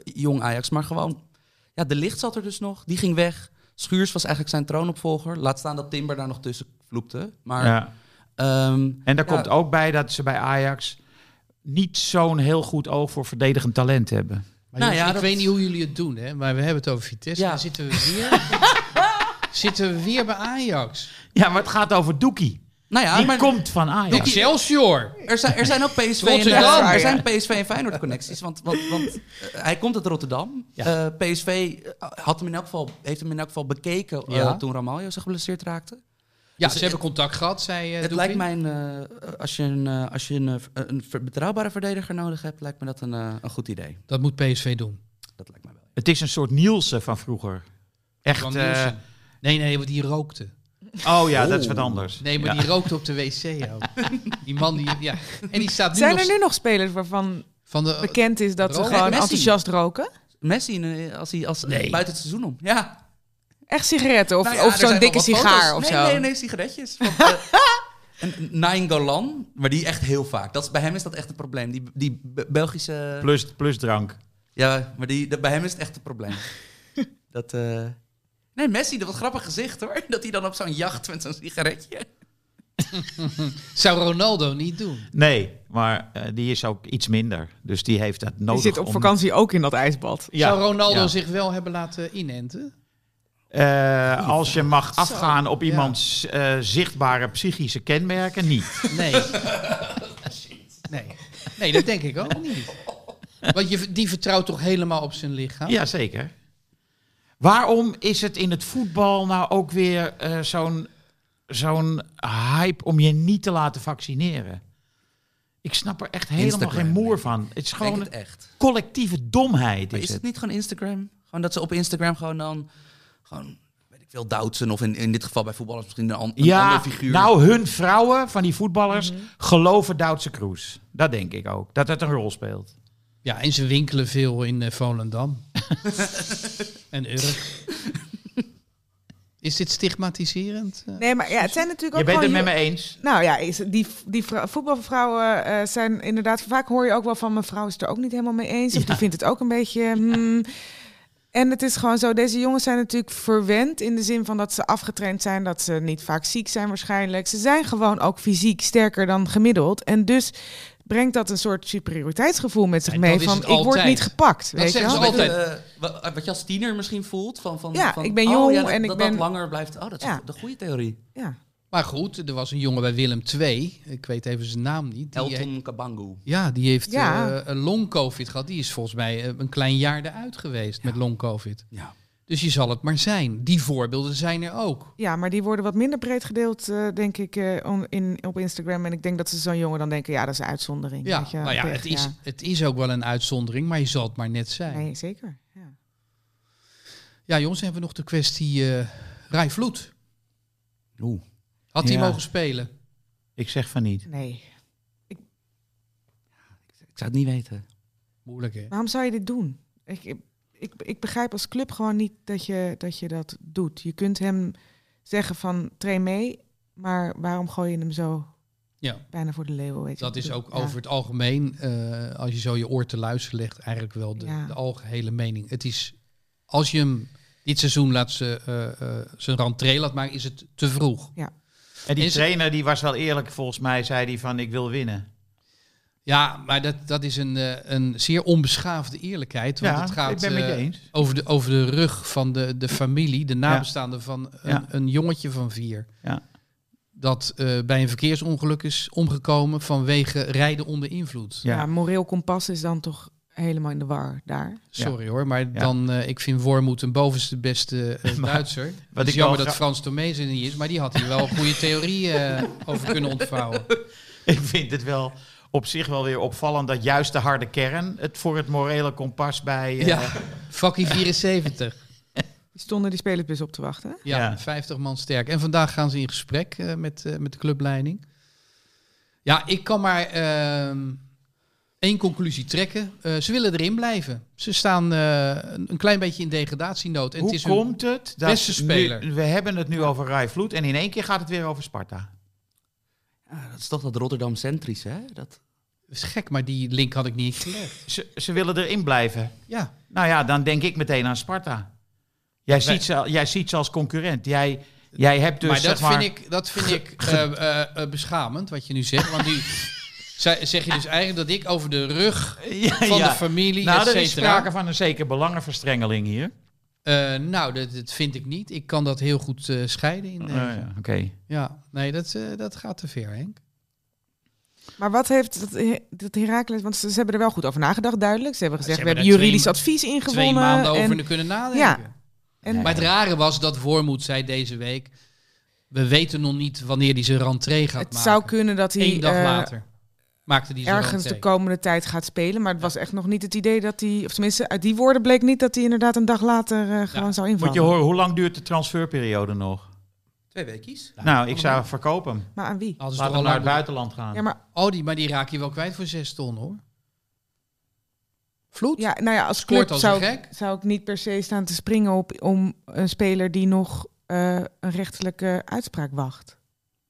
Speaker 3: jong Ajax, maar gewoon. Ja, de licht zat er dus nog. Die ging weg. Schuurs was eigenlijk zijn troonopvolger. Laat staan dat Timber daar nog tussen vloepte. Maar
Speaker 2: ja.
Speaker 3: ehm,
Speaker 2: En daar
Speaker 3: Ja.
Speaker 2: komt ook bij dat ze bij Ajax niet zo'n heel goed oog voor verdedigend talent hebben.
Speaker 4: Maar
Speaker 3: Nou
Speaker 4: jongens,
Speaker 3: ja,
Speaker 4: ik
Speaker 3: dat-
Speaker 4: weet niet hoe jullie het doen, hè? Maar we hebben het over Vitesse.
Speaker 3: Ja.
Speaker 4: Dan zitten we weer... zitten we weer bij Ajax.
Speaker 2: Ja, maar het gaat over Doekie.
Speaker 3: nou ja,
Speaker 2: die
Speaker 3: maar-
Speaker 2: komt van Ajax.
Speaker 4: Excelsior!
Speaker 3: Er zijn, er zijn ook PSV en, eh,
Speaker 4: Rotterdam.
Speaker 3: er zijn PSV en Feyenoord connecties. Want, want, want eh, hij komt uit Rotterdam. Eh, PSV had hem in elk geval, heeft hem in elk geval bekeken eh,
Speaker 4: Ja.
Speaker 3: toen Ramaljo zich geblesseerd raakte.
Speaker 4: Ja,
Speaker 3: Dus
Speaker 4: ze hebben contact gehad, zei eh,
Speaker 3: het
Speaker 4: Doekie.
Speaker 3: lijkt mij, een, eh, als je, een, eh, als je een, eh, een ver- betrouwbare verdediger nodig hebt, lijkt me dat een, eh, een goed idee.
Speaker 4: Dat moet PSV doen.
Speaker 3: Dat lijkt mij wel.
Speaker 2: Het is een soort Nielsen van vroeger. Echt,
Speaker 4: Van
Speaker 2: eh,
Speaker 4: Nielsen. nee, nee, want die rookte.
Speaker 2: Oh ja, dat is wat anders.
Speaker 4: Nee, maar
Speaker 2: Ja.
Speaker 4: die rookt op de wc ook. die man die... Ja. En die staat nu
Speaker 6: Zijn
Speaker 4: nog...
Speaker 6: er nu nog spelers waarvan
Speaker 4: Van de,
Speaker 6: bekend is dat ze
Speaker 4: Roken?
Speaker 6: gewoon
Speaker 3: Messi.
Speaker 6: enthousiast roken?
Speaker 3: Messi eh, als hij als,
Speaker 4: Nee.
Speaker 3: buiten het seizoen om. Ja.
Speaker 6: Echt sigaretten of,
Speaker 3: Nou ja,
Speaker 6: of
Speaker 3: er
Speaker 6: zo'n
Speaker 3: zijn
Speaker 6: dikke
Speaker 3: wel wat
Speaker 6: sigaar
Speaker 3: foto's.
Speaker 6: of
Speaker 3: nee,
Speaker 6: zo?
Speaker 3: Nee, nee, sigaretjes. Want, eh, en Nainggolan, maar die echt heel vaak. Dat is, bij hem is dat echt een probleem. Die, die Be- Belgische...
Speaker 2: Plus, plus drank.
Speaker 3: Ja, maar die, dat- bij hem is het echt een probleem. dat, eh, Nee, Messi, dat was een grappig gezicht hoor. Dat hij dan op zo'n jacht met zo'n sigaretje...
Speaker 4: Zou Ronaldo niet doen.
Speaker 2: Nee, maar eh, die is ook iets minder. Dus die heeft dat
Speaker 6: Die
Speaker 2: nodig.
Speaker 6: zit op
Speaker 2: om-
Speaker 6: vakantie ook in dat ijsbad.
Speaker 2: Ja,
Speaker 4: Zou Ronaldo
Speaker 2: ja.
Speaker 4: zich wel hebben laten inenten?
Speaker 2: Eh, als je mag afgaan op iemands eh, zichtbare psychische kenmerken, niet.
Speaker 4: Nee. nee. Nee, dat denk ik ook niet. Want je, die vertrouwt toch helemaal op zijn lichaam?
Speaker 2: Jazeker. Waarom is het in het voetbal nou ook weer eh, zo'n zo'n hype om je niet te laten vaccineren? Ik snap er echt helemaal
Speaker 3: Instagram,
Speaker 2: geen moer
Speaker 3: denk
Speaker 2: van. Het is
Speaker 3: Ik denk
Speaker 2: gewoon
Speaker 3: het
Speaker 2: een
Speaker 3: echt.
Speaker 2: collectieve domheid.
Speaker 3: Maar
Speaker 2: Is
Speaker 3: is
Speaker 2: het.
Speaker 3: het niet gewoon Instagram? Gewoon dat ze op Instagram gewoon dan... Gewoon, weet ik veel, Doutsen of in, in dit geval bij voetballers misschien een, an, een
Speaker 2: Ja,
Speaker 3: andere figuur.
Speaker 2: nou hun vrouwen van die voetballers
Speaker 4: Mhm.
Speaker 2: geloven Duitse Kroes. Dat denk ik ook. Dat het een rol speelt.
Speaker 4: Ja, en ze winkelen veel in eh, Volendam. en Urk. Is dit stigmatiserend? Eh,
Speaker 6: Nee, maar ja, het zijn natuurlijk
Speaker 2: Je
Speaker 6: ook
Speaker 2: bent het
Speaker 6: gewoon...
Speaker 2: met me eens?
Speaker 6: Nou ja, is- die, die vrou- voetbalvrouwen eh, zijn inderdaad... Vaak hoor je ook wel van, mijn vrouw is het er ook niet helemaal mee eens. Of die vindt het ook een beetje... hmm. En het is gewoon zo, deze jongens zijn natuurlijk verwend... in de zin van dat ze afgetraind zijn, dat ze niet vaak ziek zijn waarschijnlijk. Ze zijn gewoon ook fysiek sterker dan gemiddeld. En dus brengt dat een soort superioriteitsgevoel met zich
Speaker 4: En
Speaker 6: mee.
Speaker 4: dat is
Speaker 6: Van,
Speaker 4: het
Speaker 6: ik word
Speaker 4: altijd.
Speaker 6: niet gepakt,
Speaker 4: Dat
Speaker 6: weet je
Speaker 4: zeggen
Speaker 6: wel?
Speaker 4: ze
Speaker 3: Weet
Speaker 4: altijd.
Speaker 3: je, eh, wa- wat je als tiener misschien voelt van, van,
Speaker 6: Ja,
Speaker 3: van,
Speaker 6: ik ben
Speaker 3: oh,
Speaker 6: jong
Speaker 3: dat,
Speaker 6: en ik
Speaker 3: dat
Speaker 6: ben-
Speaker 3: dat langer blijft. Oh, dat is
Speaker 6: Ja.
Speaker 3: de goede theorie.
Speaker 6: Ja.
Speaker 4: Maar goed, er was een jongen bij Willem II. Ik weet even zijn naam niet. Die eh, he-
Speaker 3: Elton Kabangu.
Speaker 4: ja, die heeft
Speaker 6: Ja.
Speaker 4: eh, een long-covid gehad. Die is volgens mij eh, een klein jaar eruit geweest met long-covid.
Speaker 3: Ja.
Speaker 4: Dus je zal het maar zijn. Die voorbeelden zijn er ook.
Speaker 6: Ja, maar die worden wat minder breed gedeeld, eh, denk ik, eh, on- in, op Instagram. En ik denk dat ze zo'n jongen dan denken, ja, dat is een uitzondering.
Speaker 4: Ja,
Speaker 6: weet je,
Speaker 4: nou ja,
Speaker 6: pech,
Speaker 4: het is, het is ook wel een uitzondering, maar je zal het maar net zijn.
Speaker 6: Nee, zeker. Ja.
Speaker 4: Ja, jongens, dan hebben we nog de kwestie eh Rai Vloed.
Speaker 3: Oeh.
Speaker 4: Had hij
Speaker 2: Ja.
Speaker 4: mogen spelen?
Speaker 2: Ik zeg van niet.
Speaker 6: Nee.
Speaker 3: Ik zou het niet weten.
Speaker 4: Moeilijk, hè?
Speaker 6: Waarom zou je dit doen? Ik, ik- ik, ik begrijp als club gewoon niet dat je, dat je dat doet. Je kunt hem zeggen van, train mee, maar waarom gooi je hem zo
Speaker 4: Ja.
Speaker 6: bijna voor de leeuw? Weet je
Speaker 4: Dat
Speaker 6: wat
Speaker 4: is
Speaker 6: ik
Speaker 4: ook
Speaker 6: bedoel? Ja.
Speaker 4: over het algemeen, eh, als je zo je oor te luisteren legt, eigenlijk wel de,
Speaker 6: Ja.
Speaker 4: de algehele mening. Het is, als je hem dit seizoen laat ze, eh, eh, zijn rentree laat maken, is het te vroeg.
Speaker 2: En die
Speaker 4: Is-
Speaker 2: trainer die was wel eerlijk, volgens mij zei hij van ik wil winnen.
Speaker 4: Ja, maar dat, dat is een, eh, een zeer onbeschaafde eerlijkheid. Want
Speaker 2: Ja,
Speaker 4: het gaat
Speaker 2: ik ben met je
Speaker 4: eh,
Speaker 2: eens.
Speaker 4: Over, de, over de rug van de, de familie, de nabestaanden van een,
Speaker 2: Ja.
Speaker 4: een jongetje van vier.
Speaker 2: Ja.
Speaker 4: Dat eh, bij een verkeersongeluk is omgekomen vanwege rijden onder invloed.
Speaker 6: Ja.
Speaker 2: Ja.
Speaker 6: moreel kompas is dan toch helemaal in de war daar.
Speaker 4: Sorry hoor, maar dan, eh, ik vind Wormoed een bovenste beste eh, Duitser. het is
Speaker 2: ik
Speaker 4: jammer
Speaker 2: wel
Speaker 4: dat
Speaker 2: gra-
Speaker 4: Frans Tomees er niet is, maar die had hier wel een goede theorie eh, over kunnen ontvouwen.
Speaker 2: Ik vind het wel op zich wel weer opvallend dat juist de harde kern het voor het morele kompas bij... eh,
Speaker 4: Ja, Fakkie 74.
Speaker 6: Die stonden die spelersbus op te wachten. hè?
Speaker 4: Ja,
Speaker 2: Ja.
Speaker 4: 50 man sterk. En vandaag gaan ze in gesprek eh, met, eh, met de clubleiding. Ja, ik kan maar ehm, één conclusie trekken. Eh, ze willen erin blijven. Ze staan eh, een, een klein beetje in degradatienood. En
Speaker 2: Hoe
Speaker 4: het is hun-
Speaker 2: komt het dat
Speaker 4: beste speler.
Speaker 2: Nu, we hebben het nu over Rai Vloed en in één keer gaat het weer over Sparta.
Speaker 3: Ja, dat is toch dat Rotterdam-centrisch, hè? Dat...
Speaker 4: Dat is gek, maar die link had ik niet gelegd.
Speaker 2: Ze, ze willen erin blijven.
Speaker 4: Ja,
Speaker 2: Nou ja, dan denk ik meteen aan Sparta. Jij, ziet, ze, al- jij ziet ze als concurrent. Jij, jij hebt dus
Speaker 4: maar dat
Speaker 2: zeg maar...
Speaker 4: vind ik, dat vind ik eh, eh, eh, beschamend wat je nu zegt. Want nu zei- zeg je dus eigenlijk dat ik over de rug
Speaker 2: Ja,
Speaker 4: van
Speaker 2: ja.
Speaker 4: de familie,
Speaker 2: Nou,
Speaker 4: et
Speaker 2: er is
Speaker 4: cetera.
Speaker 2: sprake van een zekere belangenverstrengeling hier.
Speaker 4: Eh, nou, dat, dat vind ik niet. Ik kan dat heel goed eh, scheiden. In, eh,
Speaker 2: Oh ja, Oké.
Speaker 4: Ja, nee, dat, eh, dat gaat te ver, Henk.
Speaker 6: Maar wat heeft dat, dat Herakles... Want ze, ze hebben er wel goed over nagedacht, duidelijk. Ze hebben gezegd,
Speaker 4: Ze
Speaker 6: we
Speaker 4: hebben
Speaker 6: hebben
Speaker 4: daar
Speaker 6: juridisch
Speaker 4: twee-
Speaker 6: advies ingewonnen.
Speaker 4: Twee maanden
Speaker 6: en,
Speaker 4: over kunnen nadenken.
Speaker 6: en-
Speaker 4: Maar het rare was dat Wormoed zei deze week... We weten nog niet wanneer hij zijn rentree gaat
Speaker 6: het
Speaker 4: maken.
Speaker 6: zou kunnen dat hij
Speaker 4: Eén dag
Speaker 6: eh,
Speaker 4: later maakte hij zijn
Speaker 6: ergens de
Speaker 4: rentree.
Speaker 6: komende tijd gaat spelen. Maar het was echt nog niet het idee dat hij... Of tenminste, uit die woorden bleek niet dat hij inderdaad een dag later eh, gewoon zou invallen.
Speaker 2: Moet je horen, hoe lang duurt de transferperiode nog?
Speaker 4: Twee weekjes.
Speaker 2: Nou, ik zou verkopen hem.
Speaker 6: Maar aan wie?
Speaker 4: Hadden ze
Speaker 2: Laat
Speaker 4: toch
Speaker 2: hem
Speaker 4: al
Speaker 2: naar het
Speaker 4: aan-
Speaker 2: buitenland gaan.
Speaker 6: Ja, maar
Speaker 4: Oh, die, maar die raak je wel kwijt voor zes ton, hoor. Vloed?
Speaker 6: ja, nou ja, als
Speaker 4: Scoort
Speaker 6: club
Speaker 4: als een
Speaker 6: zou,
Speaker 4: gek.
Speaker 6: zou ik niet per se staan te springen op om een speler die nog eh, een rechtelijke uitspraak wacht.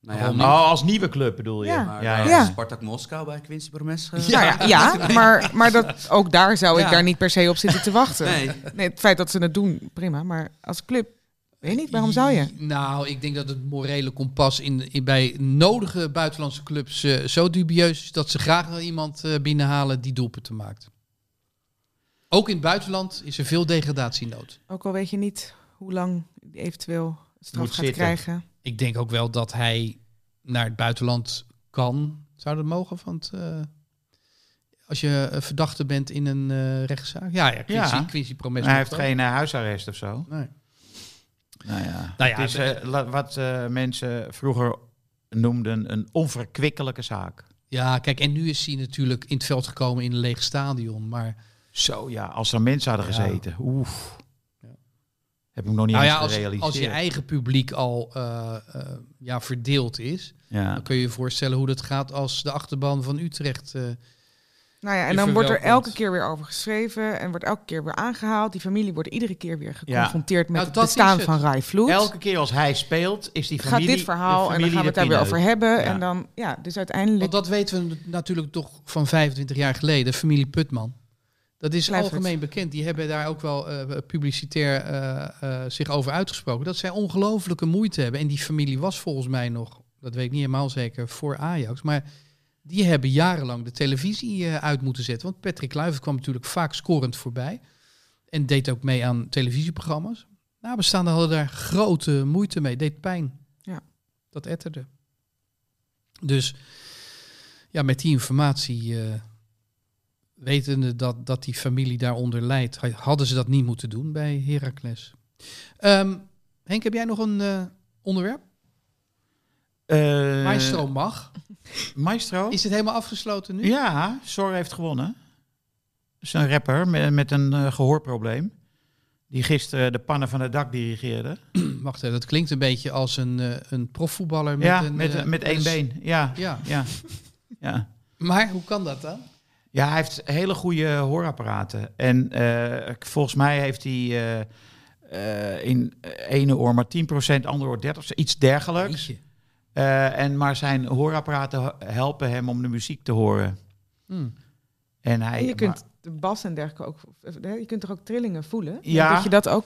Speaker 3: Nou
Speaker 4: Waarom
Speaker 3: maar-
Speaker 2: Oh, als nieuwe club bedoel je?
Speaker 6: Ja.
Speaker 3: maar,
Speaker 2: ja,
Speaker 3: eh,
Speaker 6: ja.
Speaker 3: Spartak Moskou bij Quincy Promes. eh,
Speaker 6: Ja, nou ja, ja maar, maar dat, ook daar zou ik
Speaker 3: Ja.
Speaker 6: daar niet per se op zitten te wachten.
Speaker 3: Nee.
Speaker 6: Nee, het feit dat ze het doen, prima. Maar als club, weet niet, waarom zou je?
Speaker 4: Nou, ik denk dat het morele kompas in, in, bij nodige buitenlandse clubs eh, zo dubieus is dat ze graag wel iemand eh, binnenhalen die doelpunten maakt. Ook in het buitenland is er veel degradatienood.
Speaker 6: Ook al weet je niet hoe lang die eventueel straf
Speaker 2: Moet
Speaker 6: gaat
Speaker 2: zitten.
Speaker 6: krijgen.
Speaker 4: Ik denk ook wel dat hij naar het buitenland kan. Zou dat mogen? Want eh, als je eh, verdachte bent in een eh, rechtszaak. Ja, ja, Quincy,
Speaker 2: Ja.
Speaker 4: Quincy Promes.
Speaker 2: Maar hij
Speaker 4: mag
Speaker 2: heeft
Speaker 4: wel.
Speaker 2: geen eh, huisarrest of zo.
Speaker 4: Nee.
Speaker 2: Nou ja,
Speaker 4: Nou ja,
Speaker 2: het is, eh, la- wat eh, mensen vroeger noemden een onverkwikkelijke zaak.
Speaker 4: Ja, kijk, en nu is hij natuurlijk in het veld gekomen in een leeg stadion. Maar
Speaker 2: Zo ja, als er mensen hadden
Speaker 4: Ja.
Speaker 2: gezeten. Oef.
Speaker 4: Ja.
Speaker 2: Heb ik me nog niet
Speaker 4: Nou
Speaker 2: eens
Speaker 4: ja, als,
Speaker 2: gerealiseerd.
Speaker 4: als je eigen publiek al eh, eh, ja, verdeeld is,
Speaker 2: ja.
Speaker 4: dan kun je je voorstellen hoe dat gaat als de achterban van Utrecht. eh,
Speaker 6: Nou ja, en
Speaker 4: Je
Speaker 6: dan wordt er
Speaker 4: verwelkomt.
Speaker 6: elke keer weer over geschreven en wordt elke keer weer aangehaald. Die familie wordt iedere keer weer geconfronteerd met
Speaker 4: Nou,
Speaker 6: het
Speaker 4: dat is
Speaker 6: bestaan
Speaker 4: het.
Speaker 6: van Rai Vloed.
Speaker 2: Elke keer als hij speelt, is die
Speaker 6: gaat
Speaker 2: familie...
Speaker 6: dit verhaal en dan gaan we het daar weer over hebben. En dan, ja, dus uiteindelijk.
Speaker 4: want dat weten we natuurlijk toch van 25 jaar geleden, familie Putman. Dat is
Speaker 6: Kluivert.
Speaker 4: algemeen bekend. Die hebben daar ook wel eh, publicitair eh, eh, zich over uitgesproken. Dat zij ongelooflijke moeite hebben. En die familie was volgens mij nog, dat weet ik niet helemaal zeker, voor Ajax. Maar die hebben jarenlang de televisie eh, uit moeten zetten. Want Patrick Kluivert kwam natuurlijk vaak scorend voorbij. En deed ook mee aan televisieprogramma's. Nabestaanden hadden daar grote moeite mee. Deed pijn.
Speaker 6: Ja.
Speaker 4: Dat etterde. Dus ja, met die informatie, eh, wetende dat, dat die familie daaronder leidt, ha- hadden ze dat niet moeten doen bij Heracles. Ehm, Henk, heb jij nog een eh, onderwerp?
Speaker 2: Eh,
Speaker 4: Maestro mag.
Speaker 2: Maestro?
Speaker 4: Is het helemaal afgesloten nu?
Speaker 2: Ja, Sor heeft gewonnen. Dat is een rapper met, met een eh, gehoorprobleem. Die gisteren de pannen van het dak dirigeerde.
Speaker 4: Wacht even, dat klinkt een beetje als een, eh, een profvoetballer met
Speaker 2: ja,
Speaker 4: een...
Speaker 2: met,
Speaker 4: eh,
Speaker 2: met één
Speaker 4: een s-
Speaker 2: been. Ja,
Speaker 4: Ja,
Speaker 2: ja, ja.
Speaker 4: maar hoe kan dat dan?
Speaker 2: Ja, hij heeft hele goede hoorapparaten. En eh, ik- volgens mij heeft hij eh, eh, in ene oor maar 10%, andere oor 30%, iets dergelijks.
Speaker 4: Jeetje.
Speaker 2: Eh, en, maar zijn hoorapparaten h- helpen hem om de muziek te horen.
Speaker 4: Hmm.
Speaker 2: En hij,
Speaker 6: en je
Speaker 2: maar-
Speaker 6: kunt de bas en dergelijke ook. hè, Je kunt toch ook trillingen voelen. Ik denk
Speaker 2: Ja.
Speaker 6: Dat je dat ook.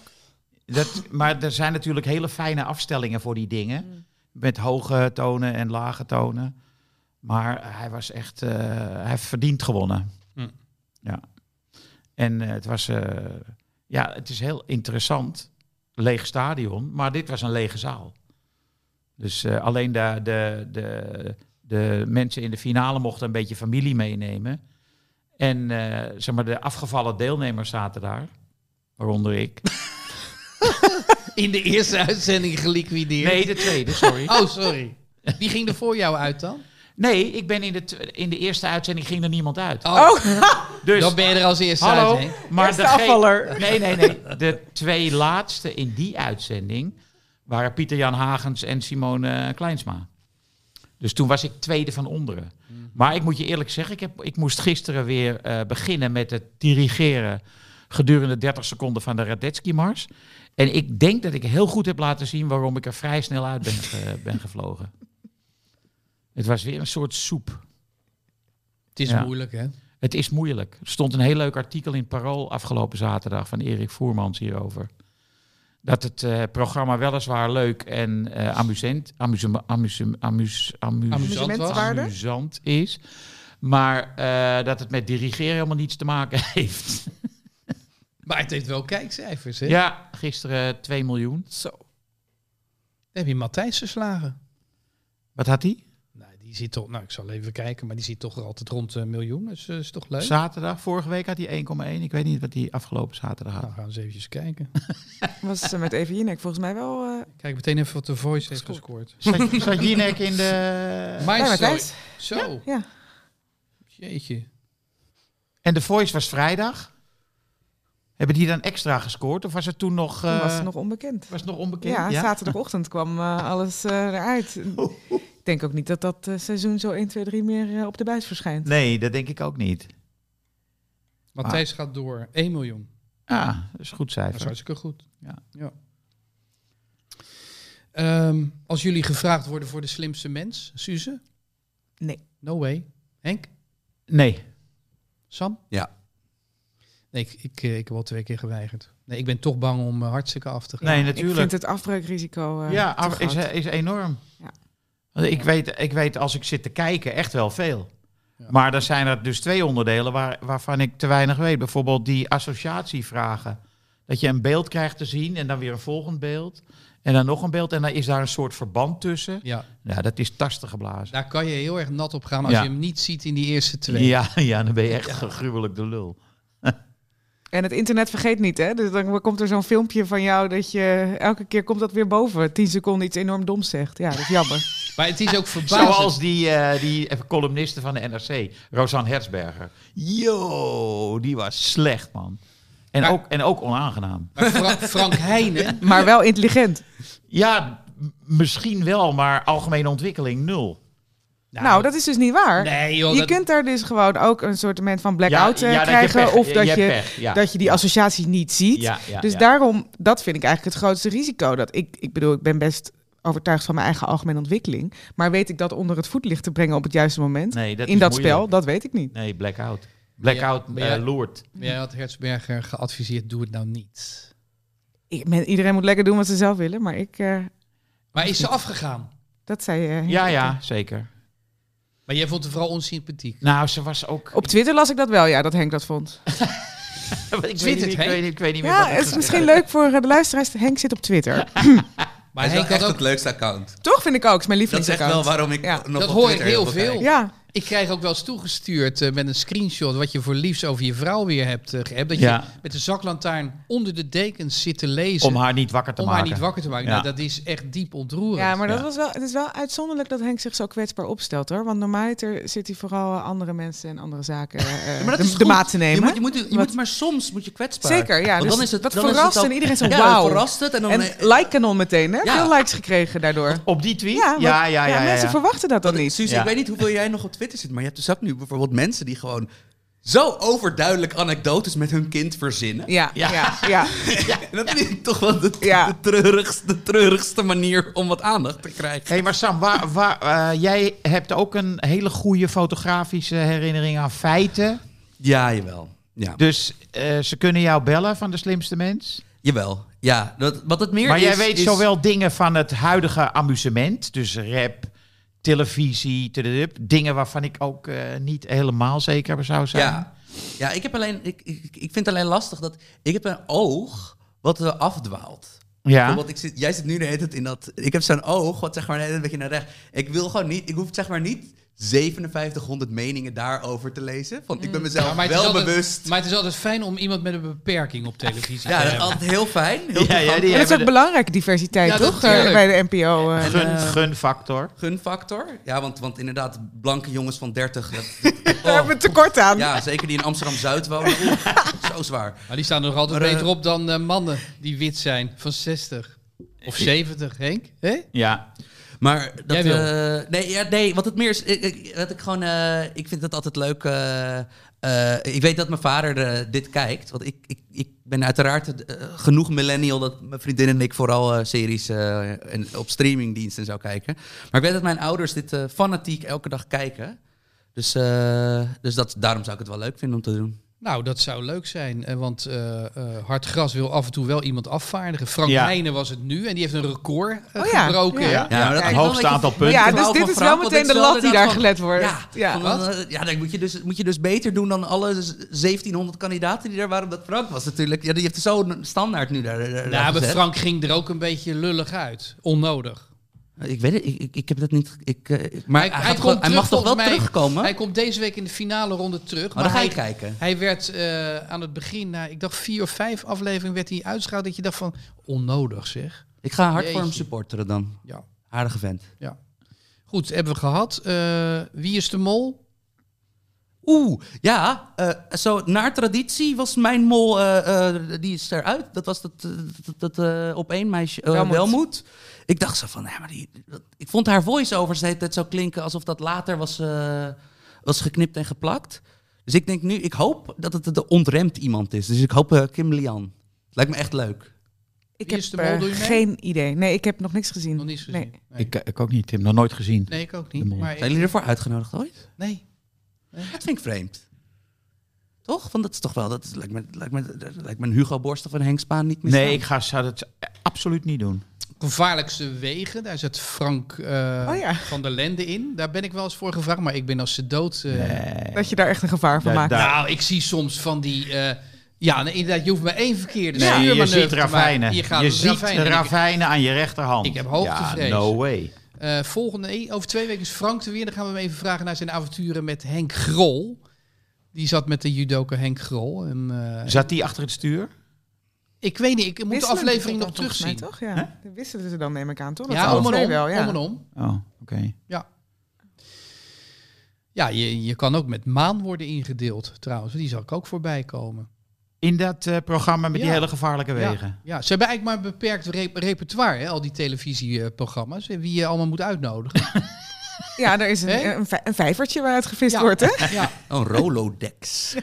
Speaker 2: Dat, maar er zijn natuurlijk hele fijne afstellingen voor die dingen.
Speaker 6: Mm.
Speaker 2: Met hoge tonen en lage tonen. Maar hij was echt... eh, hij heeft verdiend gewonnen.
Speaker 4: Mm.
Speaker 2: Ja. En eh, het was... eh, ja, het is heel interessant. Leeg stadion. Maar dit was een lege zaal. Dus eh, alleen de, de, de, de mensen in de finale mochten een beetje familie meenemen. En eh, zeg maar, de afgevallen deelnemers zaten daar. Waaronder ik.
Speaker 4: In de eerste uitzending geliquideerd.
Speaker 2: Nee, de tweede, sorry.
Speaker 4: Oh, sorry. Wie ging er voor jou uit dan?
Speaker 2: Nee, ik ben in de, tw- in de eerste uitzending ging er niemand uit.
Speaker 4: Oh,
Speaker 2: Dus,
Speaker 4: dan ben je er als eerste
Speaker 2: hallo,
Speaker 4: uit, Henk.
Speaker 2: maar
Speaker 6: Eerste
Speaker 2: degene-
Speaker 6: afvaller.
Speaker 2: Nee, nee, nee. De twee laatste in die uitzending waren Pieter-Jan Hagens en Simone Kleinsma. Dus toen was ik tweede van onderen. Maar ik moet je eerlijk zeggen, ik, heb, ik moest gisteren weer eh, beginnen met het dirigeren gedurende 30 seconden van de Radetzky-mars. En ik denk dat ik heel goed heb laten zien waarom ik er vrij snel uit ben, ge- ben gevlogen. Het was weer een soort soep.
Speaker 4: Het is
Speaker 2: Ja.
Speaker 4: moeilijk, hè?
Speaker 2: Het is moeilijk. Er stond een heel leuk artikel in Parool afgelopen zaterdag van Erik Voermans hierover. Dat het eh, programma weliswaar leuk en eh amusant, amusem- amusem- amus- amus-
Speaker 4: Amusant was.
Speaker 6: Amusementswaarde.
Speaker 2: amusant is. Maar eh, dat het met dirigeren helemaal niets te maken heeft.
Speaker 4: Maar het heeft wel kijkcijfers, hè?
Speaker 2: Ja, gisteren 2 miljoen.
Speaker 4: Zo. Dan heb je Matthijs verslagen.
Speaker 2: Wat had hij?
Speaker 4: Nou, die zit toch... Nou, ik zal even kijken, maar die zit toch altijd rond een miljoen. Dus eh, is toch leuk?
Speaker 2: Zaterdag, vorige week had hij 1,1. Ik weet niet wat hij afgelopen zaterdag had.
Speaker 4: Nou, gaan we eens eventjes kijken.
Speaker 6: Was eh, met Even Jinek volgens mij wel. eh
Speaker 4: Kijk meteen even wat de Voice heeft gescoord.
Speaker 2: Zat, zat Jinek in de...
Speaker 4: Maar
Speaker 6: bij
Speaker 4: zo,
Speaker 6: Matthijs.
Speaker 4: zo.
Speaker 6: Ja.
Speaker 4: jeetje.
Speaker 2: Ah. En de Voice was vrijdag. Hebben die dan extra gescoord? Of was het toen nog,
Speaker 6: Toen
Speaker 2: eh,
Speaker 6: was het nog onbekend.
Speaker 2: was het nog onbekend?
Speaker 6: Ja, zaterdagochtend kwam eh, alles eh, eruit. Ik denk ook niet dat dat eh, seizoen zo 1, 2, 3 meer eh, op de buis verschijnt.
Speaker 2: Nee, dat denk ik ook niet.
Speaker 4: Matthijs gaat door. 1 miljoen.
Speaker 2: Ah, dat is een goed
Speaker 4: Dat is
Speaker 2: cijfer.
Speaker 4: hartstikke goed.
Speaker 2: Ja.
Speaker 4: Ehm, als jullie gevraagd worden voor de slimste mens, Suze?
Speaker 6: Nee.
Speaker 4: No way. Henk?
Speaker 2: Nee.
Speaker 4: Sam?
Speaker 9: Ja.
Speaker 4: Nee, ik, ik, eh, ik heb al twee keer geweigerd. Nee, ik ben toch bang om eh, hartstikke af te gaan.
Speaker 2: Nee,
Speaker 6: Ik
Speaker 2: natuurlijk.
Speaker 6: vind het afbreukrisico eh,
Speaker 2: ja,
Speaker 6: te
Speaker 2: af- is,
Speaker 6: groot.
Speaker 2: is enorm.
Speaker 6: Ja.
Speaker 2: Want ik, weet, ik weet als ik zit te kijken echt wel veel.
Speaker 4: Ja.
Speaker 2: Maar er zijn er dus twee onderdelen waar, waarvan ik te weinig weet. Bijvoorbeeld die associatievragen. Dat je een beeld krijgt te zien en dan weer een volgend beeld. En dan nog een beeld en dan is daar een soort verband tussen.
Speaker 4: Ja,
Speaker 2: Ja, dat is tasten geblazen.
Speaker 4: daar kan je heel erg nat op gaan als
Speaker 2: Ja.
Speaker 4: je hem niet ziet in die eerste twee.
Speaker 2: Ja, ja, dan ben je echt gruwelijk de lul.
Speaker 6: En het internet vergeet niet, hè? Dus dan komt er zo'n filmpje van jou dat je eh, elke keer komt dat weer boven. 10 seconden iets enorm doms zegt. Ja, dat is jammer.
Speaker 4: Maar het is ook verbazend.
Speaker 2: Zoals die, eh die columniste van de NRC, Rosanne Herzberger. Yo, die was slecht, man. En,
Speaker 4: Maar-
Speaker 2: ook, en ook onaangenaam.
Speaker 4: Maar Fra- Frank Heijnen,
Speaker 6: maar wel intelligent.
Speaker 2: Ja, m- misschien wel, maar algemene ontwikkeling nul.
Speaker 6: Nou, dat is dus niet waar.
Speaker 4: Nee, joh,
Speaker 6: je
Speaker 4: dat-
Speaker 6: kunt daar dus gewoon ook een soort van blackout eh,
Speaker 2: ja, dat je
Speaker 6: krijgen.
Speaker 2: pech-
Speaker 6: of
Speaker 2: je-
Speaker 6: dat
Speaker 2: je
Speaker 6: je,
Speaker 2: hebt pech, ja.
Speaker 6: dat je die associatie niet ziet.
Speaker 2: Ja, ja,
Speaker 6: dus
Speaker 2: ja.
Speaker 6: daarom, dat vind ik eigenlijk het grootste risico. Dat ik, ik bedoel, ik ben best overtuigd van mijn eigen algemene ontwikkeling. Maar weet ik dat onder het voetlicht te brengen op het juiste moment?
Speaker 2: Nee, dat
Speaker 6: in
Speaker 2: is
Speaker 6: dat
Speaker 2: moeilijk.
Speaker 6: spel, dat weet ik niet.
Speaker 2: Nee, blackout. Blackout
Speaker 4: Ja,
Speaker 2: eh
Speaker 4: maar ja-
Speaker 2: loert.
Speaker 4: jij had Hertzberger geadviseerd, doe het nou niet.
Speaker 6: Ik- men- iedereen moet lekker doen wat ze zelf willen, maar ik, eh,
Speaker 4: Maar is ze afgegaan?
Speaker 6: dat zei eh, je.
Speaker 2: Ja, ja, zeker.
Speaker 4: Maar jij vond het vooral onsympathiek.
Speaker 2: Nou, ze was ook...
Speaker 6: Op Twitter las ik dat wel, ja, dat Henk dat vond.
Speaker 2: ik, weet
Speaker 4: Zit
Speaker 2: niet,
Speaker 4: het,
Speaker 2: ik,
Speaker 4: hè?
Speaker 2: weet, niet- ik weet niet meer
Speaker 6: Ja,
Speaker 2: wat ik
Speaker 6: het is
Speaker 2: gezegd
Speaker 6: misschien leuk voor eh, de luisteraars. Henk zit op Twitter.
Speaker 4: Maar
Speaker 3: Hij
Speaker 4: Henk
Speaker 3: is wel
Speaker 4: had
Speaker 3: echt
Speaker 4: ook...
Speaker 3: het leukste account.
Speaker 6: Toch vind ik ook, is mijn
Speaker 3: Dat is echt wel
Speaker 6: lievelingsaccount.
Speaker 3: waarom ik
Speaker 6: Ja.
Speaker 3: nog
Speaker 4: Dat
Speaker 3: op
Speaker 4: hoor ik
Speaker 3: Twitter
Speaker 4: heel
Speaker 3: kijk.
Speaker 4: veel.
Speaker 6: Ja,
Speaker 4: Ik krijg ook wel eens toegestuurd eh, met een screenshot wat je voor liefst over je vrouw weer hebt eh, geappt. Dat
Speaker 2: Ja.
Speaker 4: je met de zaklantaarn onder de dekens zit te lezen
Speaker 2: Om haar niet wakker te
Speaker 4: om
Speaker 2: maken.
Speaker 4: haar niet wakker te maken.
Speaker 2: Ja.
Speaker 4: Nou, dat is echt diep ontroerend.
Speaker 6: ja maar dat
Speaker 2: Ja.
Speaker 6: was wel, het is wel uitzonderlijk dat Henk zich zo kwetsbaar opstelt hoor. Want normaliter zit hij vooral eh, andere mensen en andere zaken eh,
Speaker 3: Ja, maar dat is
Speaker 6: de, de
Speaker 3: goed.
Speaker 6: maat te nemen.
Speaker 3: Je moet, je moet, je
Speaker 6: Wat-
Speaker 3: moet maar soms moet je kwetsbaar.
Speaker 6: Zeker, ja.
Speaker 3: Want
Speaker 6: Dus
Speaker 3: dan is het,
Speaker 6: dat
Speaker 3: dan
Speaker 6: verrast
Speaker 3: is het ook-
Speaker 6: en iedereen zo,
Speaker 3: Ja,
Speaker 6: wauw.
Speaker 3: verrast het en dan... eh,
Speaker 6: En like kanon meteen, hè?
Speaker 3: Ja.
Speaker 6: Veel likes gekregen daardoor.
Speaker 2: Op die tweet?
Speaker 6: Ja,
Speaker 2: Ja,
Speaker 6: want-
Speaker 2: ja, ja. ja,
Speaker 6: mensen
Speaker 2: ja.
Speaker 6: verwachten dat dan
Speaker 3: Want,
Speaker 6: niet.
Speaker 3: Suze,
Speaker 2: Ja.
Speaker 3: ik weet niet hoeveel jij nog op Twitter zit, maar je hebt dus ook nu bijvoorbeeld mensen die gewoon zo overduidelijk anekdotes met hun kind verzinnen.
Speaker 6: Ja, ja,
Speaker 2: Ja.
Speaker 6: ja. ja.
Speaker 3: En dat vind ik toch wel de,
Speaker 6: Ja.
Speaker 3: de, treurigste, de treurigste manier om wat aandacht te krijgen.
Speaker 2: Hé, hey, maar Sam, waar, waar, eh, jij hebt ook een hele goede fotografische herinnering aan feiten.
Speaker 3: Ja, jawel. Ja.
Speaker 2: Dus eh, ze kunnen jou bellen van de slimste mens.
Speaker 3: Jawel. Ja, dat, wat het meer
Speaker 2: Maar
Speaker 3: is...
Speaker 2: jij weet
Speaker 3: is-
Speaker 2: zowel dingen van het huidige amusement, dus rap, televisie, tududup, dingen waarvan ik ook eh, niet helemaal zeker zou zijn.
Speaker 3: Ja, ja ik, heb alleen, ik, ik, ik vind het alleen lastig dat... Ik heb een oog wat eh, afdwaalt.
Speaker 2: ja.
Speaker 3: Bijvoorbeeld, ik zit, jij zit nu de hele tijd in dat... Ik heb zo'n oog, wat zeg maar de hele tijd een beetje naar rechts. Ik wil gewoon niet... Ik hoef zeg maar niet 5700 meningen daarover te lezen. Want ik ben mezelf
Speaker 4: Ja, Nou, maar het is
Speaker 3: wel
Speaker 4: altijd-
Speaker 3: bewust.
Speaker 4: Maar het is altijd fijn om iemand met een beperking op televisie te
Speaker 3: Ja, dat is
Speaker 4: hebben.
Speaker 3: altijd heel fijn. Heel
Speaker 2: Ja, ja,
Speaker 3: toegankelijk.
Speaker 2: die-
Speaker 6: En dat is ook
Speaker 2: de-
Speaker 6: belangrijke diversiteit,
Speaker 3: Ja, dat
Speaker 6: toch? eh,
Speaker 3: natuurlijk.
Speaker 6: bij de NPO. eh.
Speaker 2: Gun,
Speaker 3: eh,
Speaker 2: gunfactor.
Speaker 3: Gunfactor. Ja, want, want inderdaad, blanke jongens van 30... Dat, oh.
Speaker 6: Daar hebben we tekort aan.
Speaker 3: Ja, zeker die in Amsterdam-Zuid wonen. Oeh, zo zwaar.
Speaker 4: Maar die staan nog altijd
Speaker 3: Maar, eh,
Speaker 4: beter op dan eh, mannen die wit zijn van 60 of 70, Henk. Hè?
Speaker 2: Ja.
Speaker 3: Maar dat,
Speaker 4: Jij wil.
Speaker 3: eh, nee, ja, nee, wat het meer is, ik, ik- dat ik gewoon, eh, ik vind het altijd leuk. eh, eh, ik weet dat mijn vader eh, dit kijkt, want ik, ik, ik ben uiteraard eh, genoeg millennial dat mijn vriendin en ik vooral eh, series eh, en op streamingdiensten zou kijken. Maar ik weet dat mijn ouders dit eh, fanatiek elke dag kijken. Dus, eh, dus dat, daarom zou ik het wel leuk vinden om te doen.
Speaker 4: Nou, dat zou leuk zijn, eh, want eh eh, Hard Gras wil af en toe wel iemand afvaardigen. Frank
Speaker 2: Ja.
Speaker 4: Heijnen was het nu en die heeft een record eh,
Speaker 6: Oh ja,
Speaker 4: gebroken.
Speaker 6: ja.
Speaker 4: hè?
Speaker 3: Ja, maar dat
Speaker 2: het
Speaker 3: is wel een
Speaker 2: hoogste
Speaker 3: beetje-
Speaker 2: aantal punten.
Speaker 6: Ja,
Speaker 3: Ik
Speaker 6: dus
Speaker 3: hou
Speaker 6: dit
Speaker 3: van
Speaker 6: is
Speaker 3: Frank,
Speaker 6: wel
Speaker 3: want
Speaker 6: meteen
Speaker 3: dit
Speaker 6: de
Speaker 3: is wel
Speaker 6: lat die daar
Speaker 3: inderdaad
Speaker 6: gelet wordt.
Speaker 3: Ja, van, eh, ja dan moet je, dus, moet je dus beter doen dan alle z- 1700 kandidaten die daar waren. Omdat Frank was natuurlijk. Ja, die heeft zo'n standaard nu daar. daar- daar
Speaker 4: Nou, maar
Speaker 3: gezet.
Speaker 4: Frank ging er ook een beetje lullig uit. Onnodig.
Speaker 3: Ik weet het, ik, ik, ik heb dat niet. Ik, eh, ik- maar hij, gaat
Speaker 4: komt
Speaker 3: gewoon- hij
Speaker 4: terug,
Speaker 3: mag toch wel
Speaker 4: volgens mij.
Speaker 3: terugkomen?
Speaker 4: Hij komt deze week in de finale ronde terug.
Speaker 3: maar dan ga
Speaker 4: hij,
Speaker 3: je kijken.
Speaker 4: hij werd eh, aan het begin, na ik dacht vier of vijf afleveringen, werd hij uitschouwd. Dat je dacht van, onnodig zeg.
Speaker 3: Ik ga hard voor hem
Speaker 4: Jeetje.
Speaker 3: supporteren dan.
Speaker 4: Ja.
Speaker 3: Aardige vent.
Speaker 4: Goed, hebben we gehad. Eh, wie is de mol?
Speaker 3: Oeh, ja, eh, zo naar traditie was mijn mol, eh, eh, die is eruit. Dat was dat, eh, dat, dat eh, op één meisje, eh,
Speaker 6: Welmoed.
Speaker 3: Welmoed. Ik dacht zo van, nee, maar die, dat- ik vond haar voice-overs de hele tijd zo klinken alsof dat later was, eh, was geknipt en geplakt. Dus ik denk nu, ik hoop dat het de ontremd iemand is. Dus ik hoop eh, Kim Lian. Lijkt me echt leuk.
Speaker 4: Wie
Speaker 6: Ik heb
Speaker 4: is de mol,
Speaker 6: eh,
Speaker 4: doe je mee?
Speaker 6: geen idee. Nee, ik heb nog niks gezien.
Speaker 4: Nog niet gezien.
Speaker 6: Nee.
Speaker 4: Nee.
Speaker 2: Ik, eh, ik ook niet, Tim. Nog nooit gezien.
Speaker 4: Nee, ik ook
Speaker 2: De
Speaker 4: niet.
Speaker 2: mol.
Speaker 4: Maar
Speaker 3: Zijn jullie ervoor uitgenodigd ooit?
Speaker 4: nee.
Speaker 2: Eh?
Speaker 3: Dat vind ik vreemd. Toch? Want dat is toch wel, dat is- lijkt me, lijkt me, dat lijkt me een Hugo Borst of een Henk Spaan niet meer
Speaker 2: Nee, ik ga, zou dat absoluut niet doen.
Speaker 4: Gevaarlijkste Wegen, daar zit Frank eh,
Speaker 6: Oh ja.
Speaker 4: van der Lende in. Daar ben ik wel eens voor gevraagd, maar ik ben als ze dood... eh,
Speaker 6: Dat je daar echt een gevaar van
Speaker 2: Ja,
Speaker 6: maakt.
Speaker 2: daar-
Speaker 4: Nou, ik zie soms van die... eh, ja, nee, inderdaad, je hoeft maar één verkeerde
Speaker 2: Nee, je
Speaker 4: stuurmanoeuvre
Speaker 2: ziet
Speaker 4: te maken.
Speaker 2: ravijnen.
Speaker 4: Je,
Speaker 2: Je,
Speaker 4: gaat
Speaker 2: ziet
Speaker 4: ravijnen. En ik-
Speaker 2: ravijnen aan je rechterhand.
Speaker 4: Ik heb hoogtevrees.
Speaker 2: Ja, no way.
Speaker 4: Eh, volgende, over twee weken is Frank er weer. Dan gaan we hem even vragen naar zijn avonturen met Henk Grol. Die zat met de judoka Henk Grol. En, eh,
Speaker 2: Zat die achter het stuur?
Speaker 4: ik weet niet, ik moet de
Speaker 6: Wisselen
Speaker 4: aflevering
Speaker 6: ze
Speaker 4: nog
Speaker 6: dat dan volgens mij,
Speaker 4: terugzien.
Speaker 6: Toch? Ja. Dat wisselen ze dan, neem ik aan, toch? Oh, Dat
Speaker 4: Ja,
Speaker 6: zal
Speaker 4: om en
Speaker 6: twee
Speaker 4: om,
Speaker 6: wel, ja.
Speaker 4: om en om.
Speaker 2: Oh, oké.
Speaker 4: Ja, ja je, je kan ook met maan worden ingedeeld trouwens. Die zal ik ook voorbij komen.
Speaker 2: In dat eh, programma met die
Speaker 4: Ja.
Speaker 2: hele gevaarlijke
Speaker 4: Ja,
Speaker 2: wegen.
Speaker 4: ja, ze hebben eigenlijk maar een beperkt re- repertoire, hè, al die televisieprogramma's. en Wie je allemaal moet uitnodigen.
Speaker 6: Ja, er is
Speaker 4: Hè?
Speaker 6: een, een, vij- een vijvertje waaruit gevist
Speaker 4: Ja.
Speaker 6: wordt, hè?
Speaker 4: ja.
Speaker 3: Een Rolodex.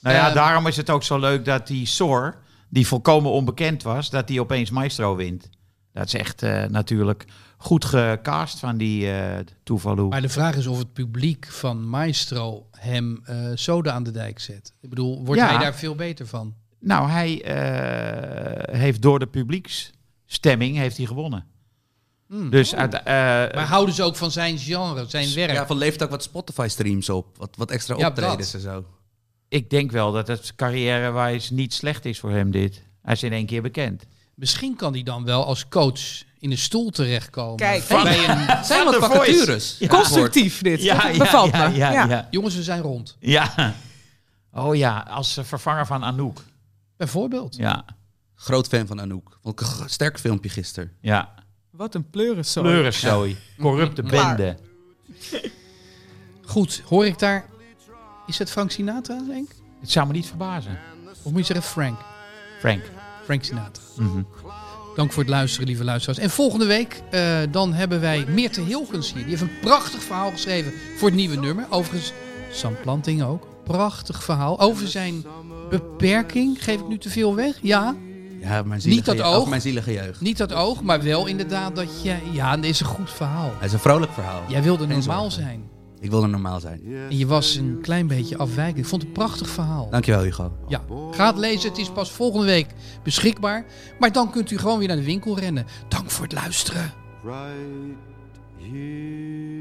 Speaker 2: Nou ja,
Speaker 4: Ehm.
Speaker 2: daarom is het ook zo leuk dat die Sor, die volkomen onbekend was, dat die opeens Maestro wint. Dat is echt eh, natuurlijk goed gecast van die eh Tuvalu.
Speaker 4: Maar de vraag is of het publiek van Maestro hem eh soda aan de dijk zet. Ik bedoel, wordt
Speaker 2: Ja.
Speaker 4: hij daar veel beter van?
Speaker 2: Nou, hij eh, heeft door de publieksstemming heeft hij gewonnen.
Speaker 4: Hmm.
Speaker 2: Dus uit, eh,
Speaker 4: Maar houden ze ook van zijn genre, zijn werk?
Speaker 3: Ja, van levert ook wat Spotify-streams op. Wat, wat extra
Speaker 4: Ja,
Speaker 3: optredens
Speaker 4: dat.
Speaker 3: en zo.
Speaker 2: ik denk wel dat het carrièrewijs niet slecht is voor hem dit. Hij is in één keer bekend.
Speaker 4: Misschien kan hij dan wel als coach in een stoel terechtkomen.
Speaker 6: Kijk.
Speaker 4: Bij een-
Speaker 3: zijn wat
Speaker 2: The Voice.
Speaker 3: vacatures.
Speaker 6: Constructief dit. dat bevalt
Speaker 2: ja,
Speaker 6: me.
Speaker 2: ja,
Speaker 6: Ja.
Speaker 2: ja.
Speaker 4: jongens, we zijn rond.
Speaker 2: Ja. Oh ja, als eh, vervanger van Anouk.
Speaker 4: Bijvoorbeeld.
Speaker 2: Ja,
Speaker 3: Groot fan van Anouk. Vond ik een g- sterk filmpje gisteren.
Speaker 2: ja.
Speaker 6: Wat een pleurenzooi.
Speaker 2: Pleurenzooi. Corrupte
Speaker 6: Klaar.
Speaker 2: bende.
Speaker 4: Goed, hoor ik daar... Is het Frank Sinatra, denk ik?
Speaker 2: Het zou me niet verbazen.
Speaker 4: Of moet je zeggen Frank?
Speaker 2: Frank.
Speaker 4: Frank Sinatra. Dank voor het luisteren, lieve luisteraars. En volgende week eh, dan hebben wij Meerte Hilgens hier. Die heeft een prachtig verhaal geschreven voor het nieuwe nummer. Overigens, Sam Planting ook. Prachtig verhaal over zijn beperking. Geef ik nu te veel weg? Ja.
Speaker 3: Ja, mijn
Speaker 4: Niet
Speaker 3: zielige
Speaker 4: dat
Speaker 3: je- of
Speaker 4: oog.
Speaker 3: Mijn zielige jeugd.
Speaker 4: Niet dat oog, maar wel inderdaad dat je... Ja, dit is een goed verhaal.
Speaker 3: Het is een vrolijk verhaal.
Speaker 4: Jij wilde normaal
Speaker 3: zorgen.
Speaker 4: zijn.
Speaker 3: Ik wil er normaal zijn.
Speaker 4: En je was een klein beetje afwijkend. Ik vond het een prachtig verhaal.
Speaker 3: Dankjewel, Hugo.
Speaker 4: Ja, ga het lezen. Het is pas volgende week beschikbaar. Maar dan kunt u gewoon weer naar de winkel rennen. Dank voor het luisteren.
Speaker 5: right here.